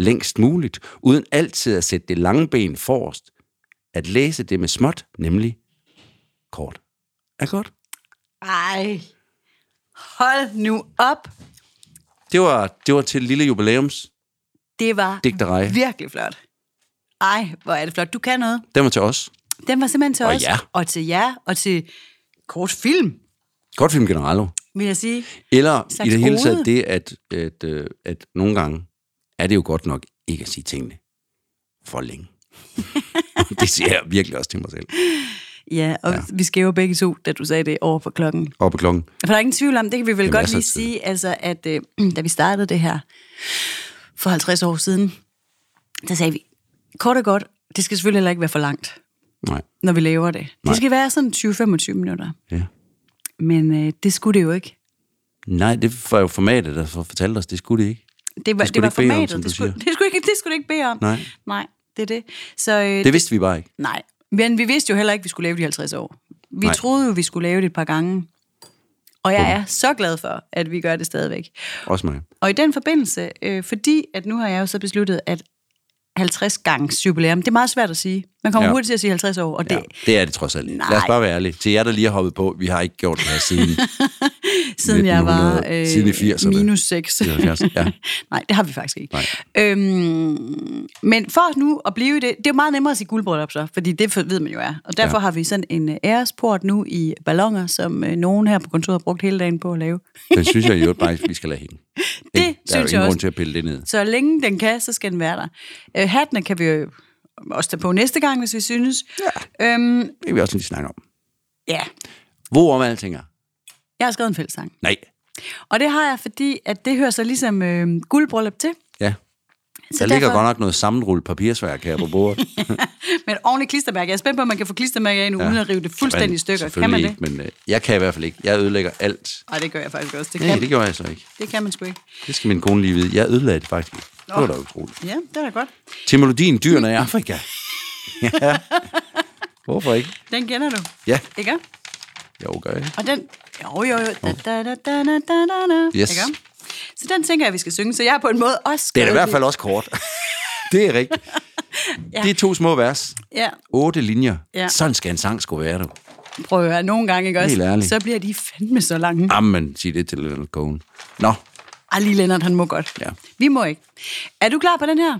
Speaker 1: længst muligt, uden altid at sætte det lange ben forrest. At læse det med småt, nemlig kort, er godt.
Speaker 3: Ej, hold nu op.
Speaker 1: Det var, det var til lille jubilæums.
Speaker 3: Det var
Speaker 1: Digterej.
Speaker 3: virkelig flot. Ej, hvor er det flot. Du kan noget.
Speaker 1: Den var til os.
Speaker 3: Den var simpelthen til
Speaker 1: Og
Speaker 3: os.
Speaker 1: jer.
Speaker 3: Og til jer. Og til kort film,
Speaker 1: Godt film generelt.
Speaker 3: vil jeg sige.
Speaker 1: Eller
Speaker 3: Slags
Speaker 1: i det hele taget
Speaker 3: ode.
Speaker 1: det, at, at, øh, at nogle gange er det jo godt nok ikke at sige tingene for længe. det siger jeg virkelig også til mig selv.
Speaker 3: Ja, og ja. vi skæver begge to, da du sagde det over for klokken.
Speaker 1: Op på klokken.
Speaker 3: For der er ingen tvivl om, det kan vi vel
Speaker 1: Jamen,
Speaker 3: godt
Speaker 1: altså,
Speaker 3: lige
Speaker 1: det-
Speaker 3: sige, altså, at øh, *clears throat* da vi startede det her for 50 år siden, der sagde vi, kort og godt, det skal selvfølgelig heller ikke være for langt,
Speaker 1: Nej.
Speaker 3: når vi laver det. Nej.
Speaker 1: Nej.
Speaker 3: Det skal være sådan 20-25 minutter.
Speaker 1: Ja.
Speaker 3: Men øh, det skulle det jo ikke.
Speaker 1: Nej, det var jo formatet, der fortalte os, det skulle det ikke.
Speaker 3: Det var,
Speaker 1: Det
Speaker 3: det,
Speaker 1: skulle
Speaker 3: det var
Speaker 1: du ikke bede om,
Speaker 3: formatet.
Speaker 1: som du
Speaker 3: det, skulle,
Speaker 1: siger.
Speaker 3: det, skulle ikke, det skulle du ikke bede om.
Speaker 1: Nej.
Speaker 3: Nej, det er det. Så øh,
Speaker 1: Det vidste vi bare ikke.
Speaker 3: Nej, men vi vidste jo heller ikke, at vi skulle lave de 50 år. Vi
Speaker 1: Nej.
Speaker 3: Nej. troede jo, vi skulle lave det et par gange. Og jeg er så glad for, at vi gør det stadigvæk.
Speaker 1: Også mig.
Speaker 3: Og i den forbindelse, øh, fordi at nu har jeg jo så besluttet, at 50 gangs jubilæum, det er meget svært at sige. Man kommer
Speaker 1: Ja.
Speaker 3: ja. hurtigt til at sige 50 år, og det,
Speaker 1: Ja, det er det trods alt ikke. Lad os
Speaker 3: Nej.
Speaker 1: bare være ærlige. Til jer, der lige har hoppet på, vi har ikke gjort det her
Speaker 3: *laughs*
Speaker 1: siden
Speaker 3: siden jeg var øh,
Speaker 1: 1900 siden i 80'erne.
Speaker 3: minus 6.
Speaker 1: 70. Ja.
Speaker 3: *laughs* Nej, det har vi faktisk ikke.
Speaker 1: Nej.
Speaker 3: Øhm, men for nu at blive i det, det er jo meget nemmere at sige guldbryllup så, fordi det for- ved man jo er. Og derfor
Speaker 1: Ja.
Speaker 3: ja. har vi sådan en øh, æresport nu i ballonger, som øh, nogen her på kontoret har brugt hele dagen på at lave.
Speaker 1: Den synes jeg i øvrigt bare, vi skal lade hænge.
Speaker 3: Det
Speaker 1: Ikke? Der er jo
Speaker 3: synes
Speaker 1: ingen
Speaker 3: jeg
Speaker 1: grund
Speaker 3: også.
Speaker 1: til at pille det ned.
Speaker 3: Så længe den kan, så skal den være der. Øh, hattene kan vi jo også tage på næste gang, hvis vi synes. Ja. Øhm,
Speaker 1: Det vil vi også lige snakke om.
Speaker 3: ja.
Speaker 1: Hvor om alting er?
Speaker 3: Jeg har skrevet en fællessang.
Speaker 1: Nej.
Speaker 3: Og det har jeg, fordi at det hører så ligesom øh, guldbryllup til.
Speaker 1: Ja.
Speaker 3: Så
Speaker 1: Der ligger godt nok noget sammenrullet papirsværk her på
Speaker 3: *laughs*
Speaker 1: bordet.
Speaker 3: Med et ordentligt klistermærke. Jeg er spændt på, om man kan få klistermærke af nu, ja. uden at rive det fuldstændig i
Speaker 1: Men
Speaker 3: stykker. Kan
Speaker 1: selvfølgelig
Speaker 3: man det?
Speaker 1: Ikke, men øh, jeg kan i hvert fald ikke. Jeg ødelægger alt.
Speaker 3: Nej, det gør jeg faktisk også. Det kan,
Speaker 1: Nej, det gjorde jeg så ikke.
Speaker 3: det kan man sgu ikke.
Speaker 1: Det skal min kone lige vide. Jeg ødelagde det faktisk. ikke. Det var da utroligt.
Speaker 3: Ja, det er da godt.
Speaker 1: Til melodien Dyrene i Afrika. *laughs* ja. Hvorfor ikke?
Speaker 3: Den kender du,
Speaker 1: Ja,
Speaker 3: ikke?
Speaker 1: jo, gør jeg.
Speaker 3: Og den... Jo, jo, jo. Da, da, da, da, da, da, da, da.
Speaker 1: Yes.
Speaker 3: Ikke? Så den tænker jeg, vi skal synge. Så jeg har på en måde også
Speaker 1: Det er
Speaker 3: skrevet
Speaker 1: da i hvert fald også kort. *laughs* det er rigtigt. ja. Det er to små vers.
Speaker 3: Ja,
Speaker 1: Otte linjer. Ja.
Speaker 3: Ja.
Speaker 1: Sådan skal en sang skulle være, du.
Speaker 3: prøv at høre. Nogle gange, ikke også?
Speaker 1: Helt ærligt.
Speaker 3: Så bliver de fandme så lange.
Speaker 1: Amen, sig det til Leonard Cohen. Nå,
Speaker 3: Ah, lige Lennart, han må godt.
Speaker 1: Ja.
Speaker 3: Vi må ikke. Er du klar på den her?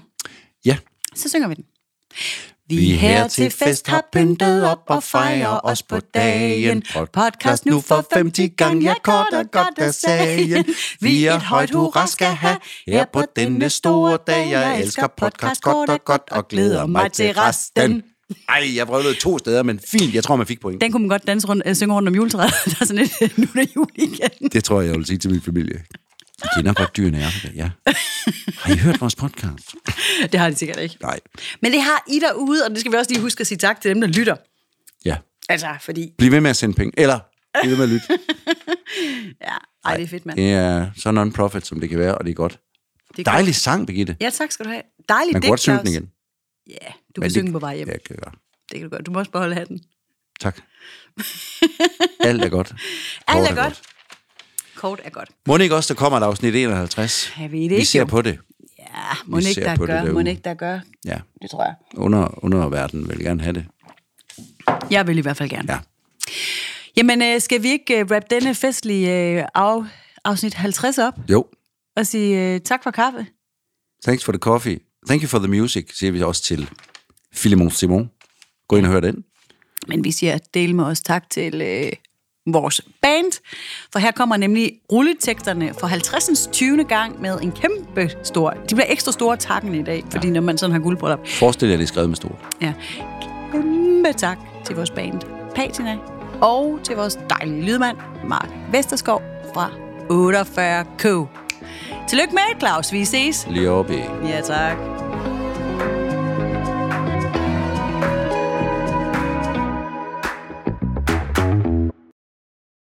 Speaker 1: ja.
Speaker 3: Så synger vi den.
Speaker 1: Vi her til fest har pyntet op og fejrer os på dagen. Podcast nu for 50 gang, ja kort og godt er
Speaker 3: *laughs*
Speaker 1: sagen. Vi et højt hurra skal have her på denne store dag. Jeg elsker podcast kort og godt og glæder mig til resten. Ej, jeg prøvede to steder, men fint, jeg tror, man fik point.
Speaker 3: Den kunne man godt danse rundt, øh, synge rundt om juletræet. *laughs* Der er sådan lidt, nu er der jul igen.
Speaker 1: Det tror jeg, jeg vil sige til min familie. De kender godt dyrene i Afrika, ja. Har I hørt vores podcast?
Speaker 3: Det har de sikkert ikke.
Speaker 1: Nej.
Speaker 3: Men det har I derude, og det skal vi også lige huske at sige tak til dem, der lytter.
Speaker 1: Ja.
Speaker 3: Altså, fordi...
Speaker 1: Bliv ved med at sende penge. Eller, bliv ved med at lytte.
Speaker 3: Ja, Ej, det er fedt, mand.
Speaker 1: Det er så non-profit, som det kan være, og det er godt.
Speaker 3: Det er
Speaker 1: Dejlig sang, Birgitte.
Speaker 3: godt. Ja, tak skal du have. Dejlig
Speaker 1: Man
Speaker 3: digt,
Speaker 1: kan godt synge den
Speaker 3: Claus.
Speaker 1: igen.
Speaker 3: Ja, du
Speaker 1: Men
Speaker 3: kan
Speaker 1: det-
Speaker 3: synge på vej hjem.
Speaker 1: Ja, kan jeg gøre.
Speaker 3: Det kan du godt. Du må også beholde hatten. *laughs*
Speaker 1: Tak. Alt er godt. Kort
Speaker 3: er godt. Kort er godt.
Speaker 1: Må det ikke også, der kommer et afsnit 51?
Speaker 3: Jeg ved det
Speaker 1: Vi
Speaker 3: ikke,
Speaker 1: ser
Speaker 3: jo.
Speaker 1: på det.
Speaker 3: Ja, må
Speaker 1: Vi
Speaker 3: ikke
Speaker 1: ser
Speaker 3: der
Speaker 1: på det
Speaker 3: gør. Må
Speaker 1: derude.
Speaker 3: ikke der gør.
Speaker 1: Ja.
Speaker 3: Det tror jeg.
Speaker 1: Under, underverden vil gerne have det.
Speaker 3: Jeg vil i hvert fald gerne.
Speaker 1: Ja.
Speaker 3: Jamen, øh, skal vi ikke øh, wrap denne festlige øh, af, afsnit 50 op
Speaker 1: Jo.
Speaker 3: og sige øh, tak for kaffe?
Speaker 1: Thanks for the coffee. Thank you for the music, siger vi også til Philemon Simon. Gå ind og hør den.
Speaker 3: Men vi siger del med os tak til øh, vores band, for her kommer nemlig rulleteksterne for 50. 20. gang med en kæmpe stor... De bliver ekstra store takken i dag, fordi når man sådan har guldbryllup.
Speaker 1: Forestil jer, det er skrevet med stort.
Speaker 3: Ja. Kæmpe tak til vores band Patina og til vores dejlige lydmand Mark Vesterskov fra 48K. Tillykke med, Claus. Vi ses.
Speaker 1: Lige oppe i
Speaker 3: Ja, tak.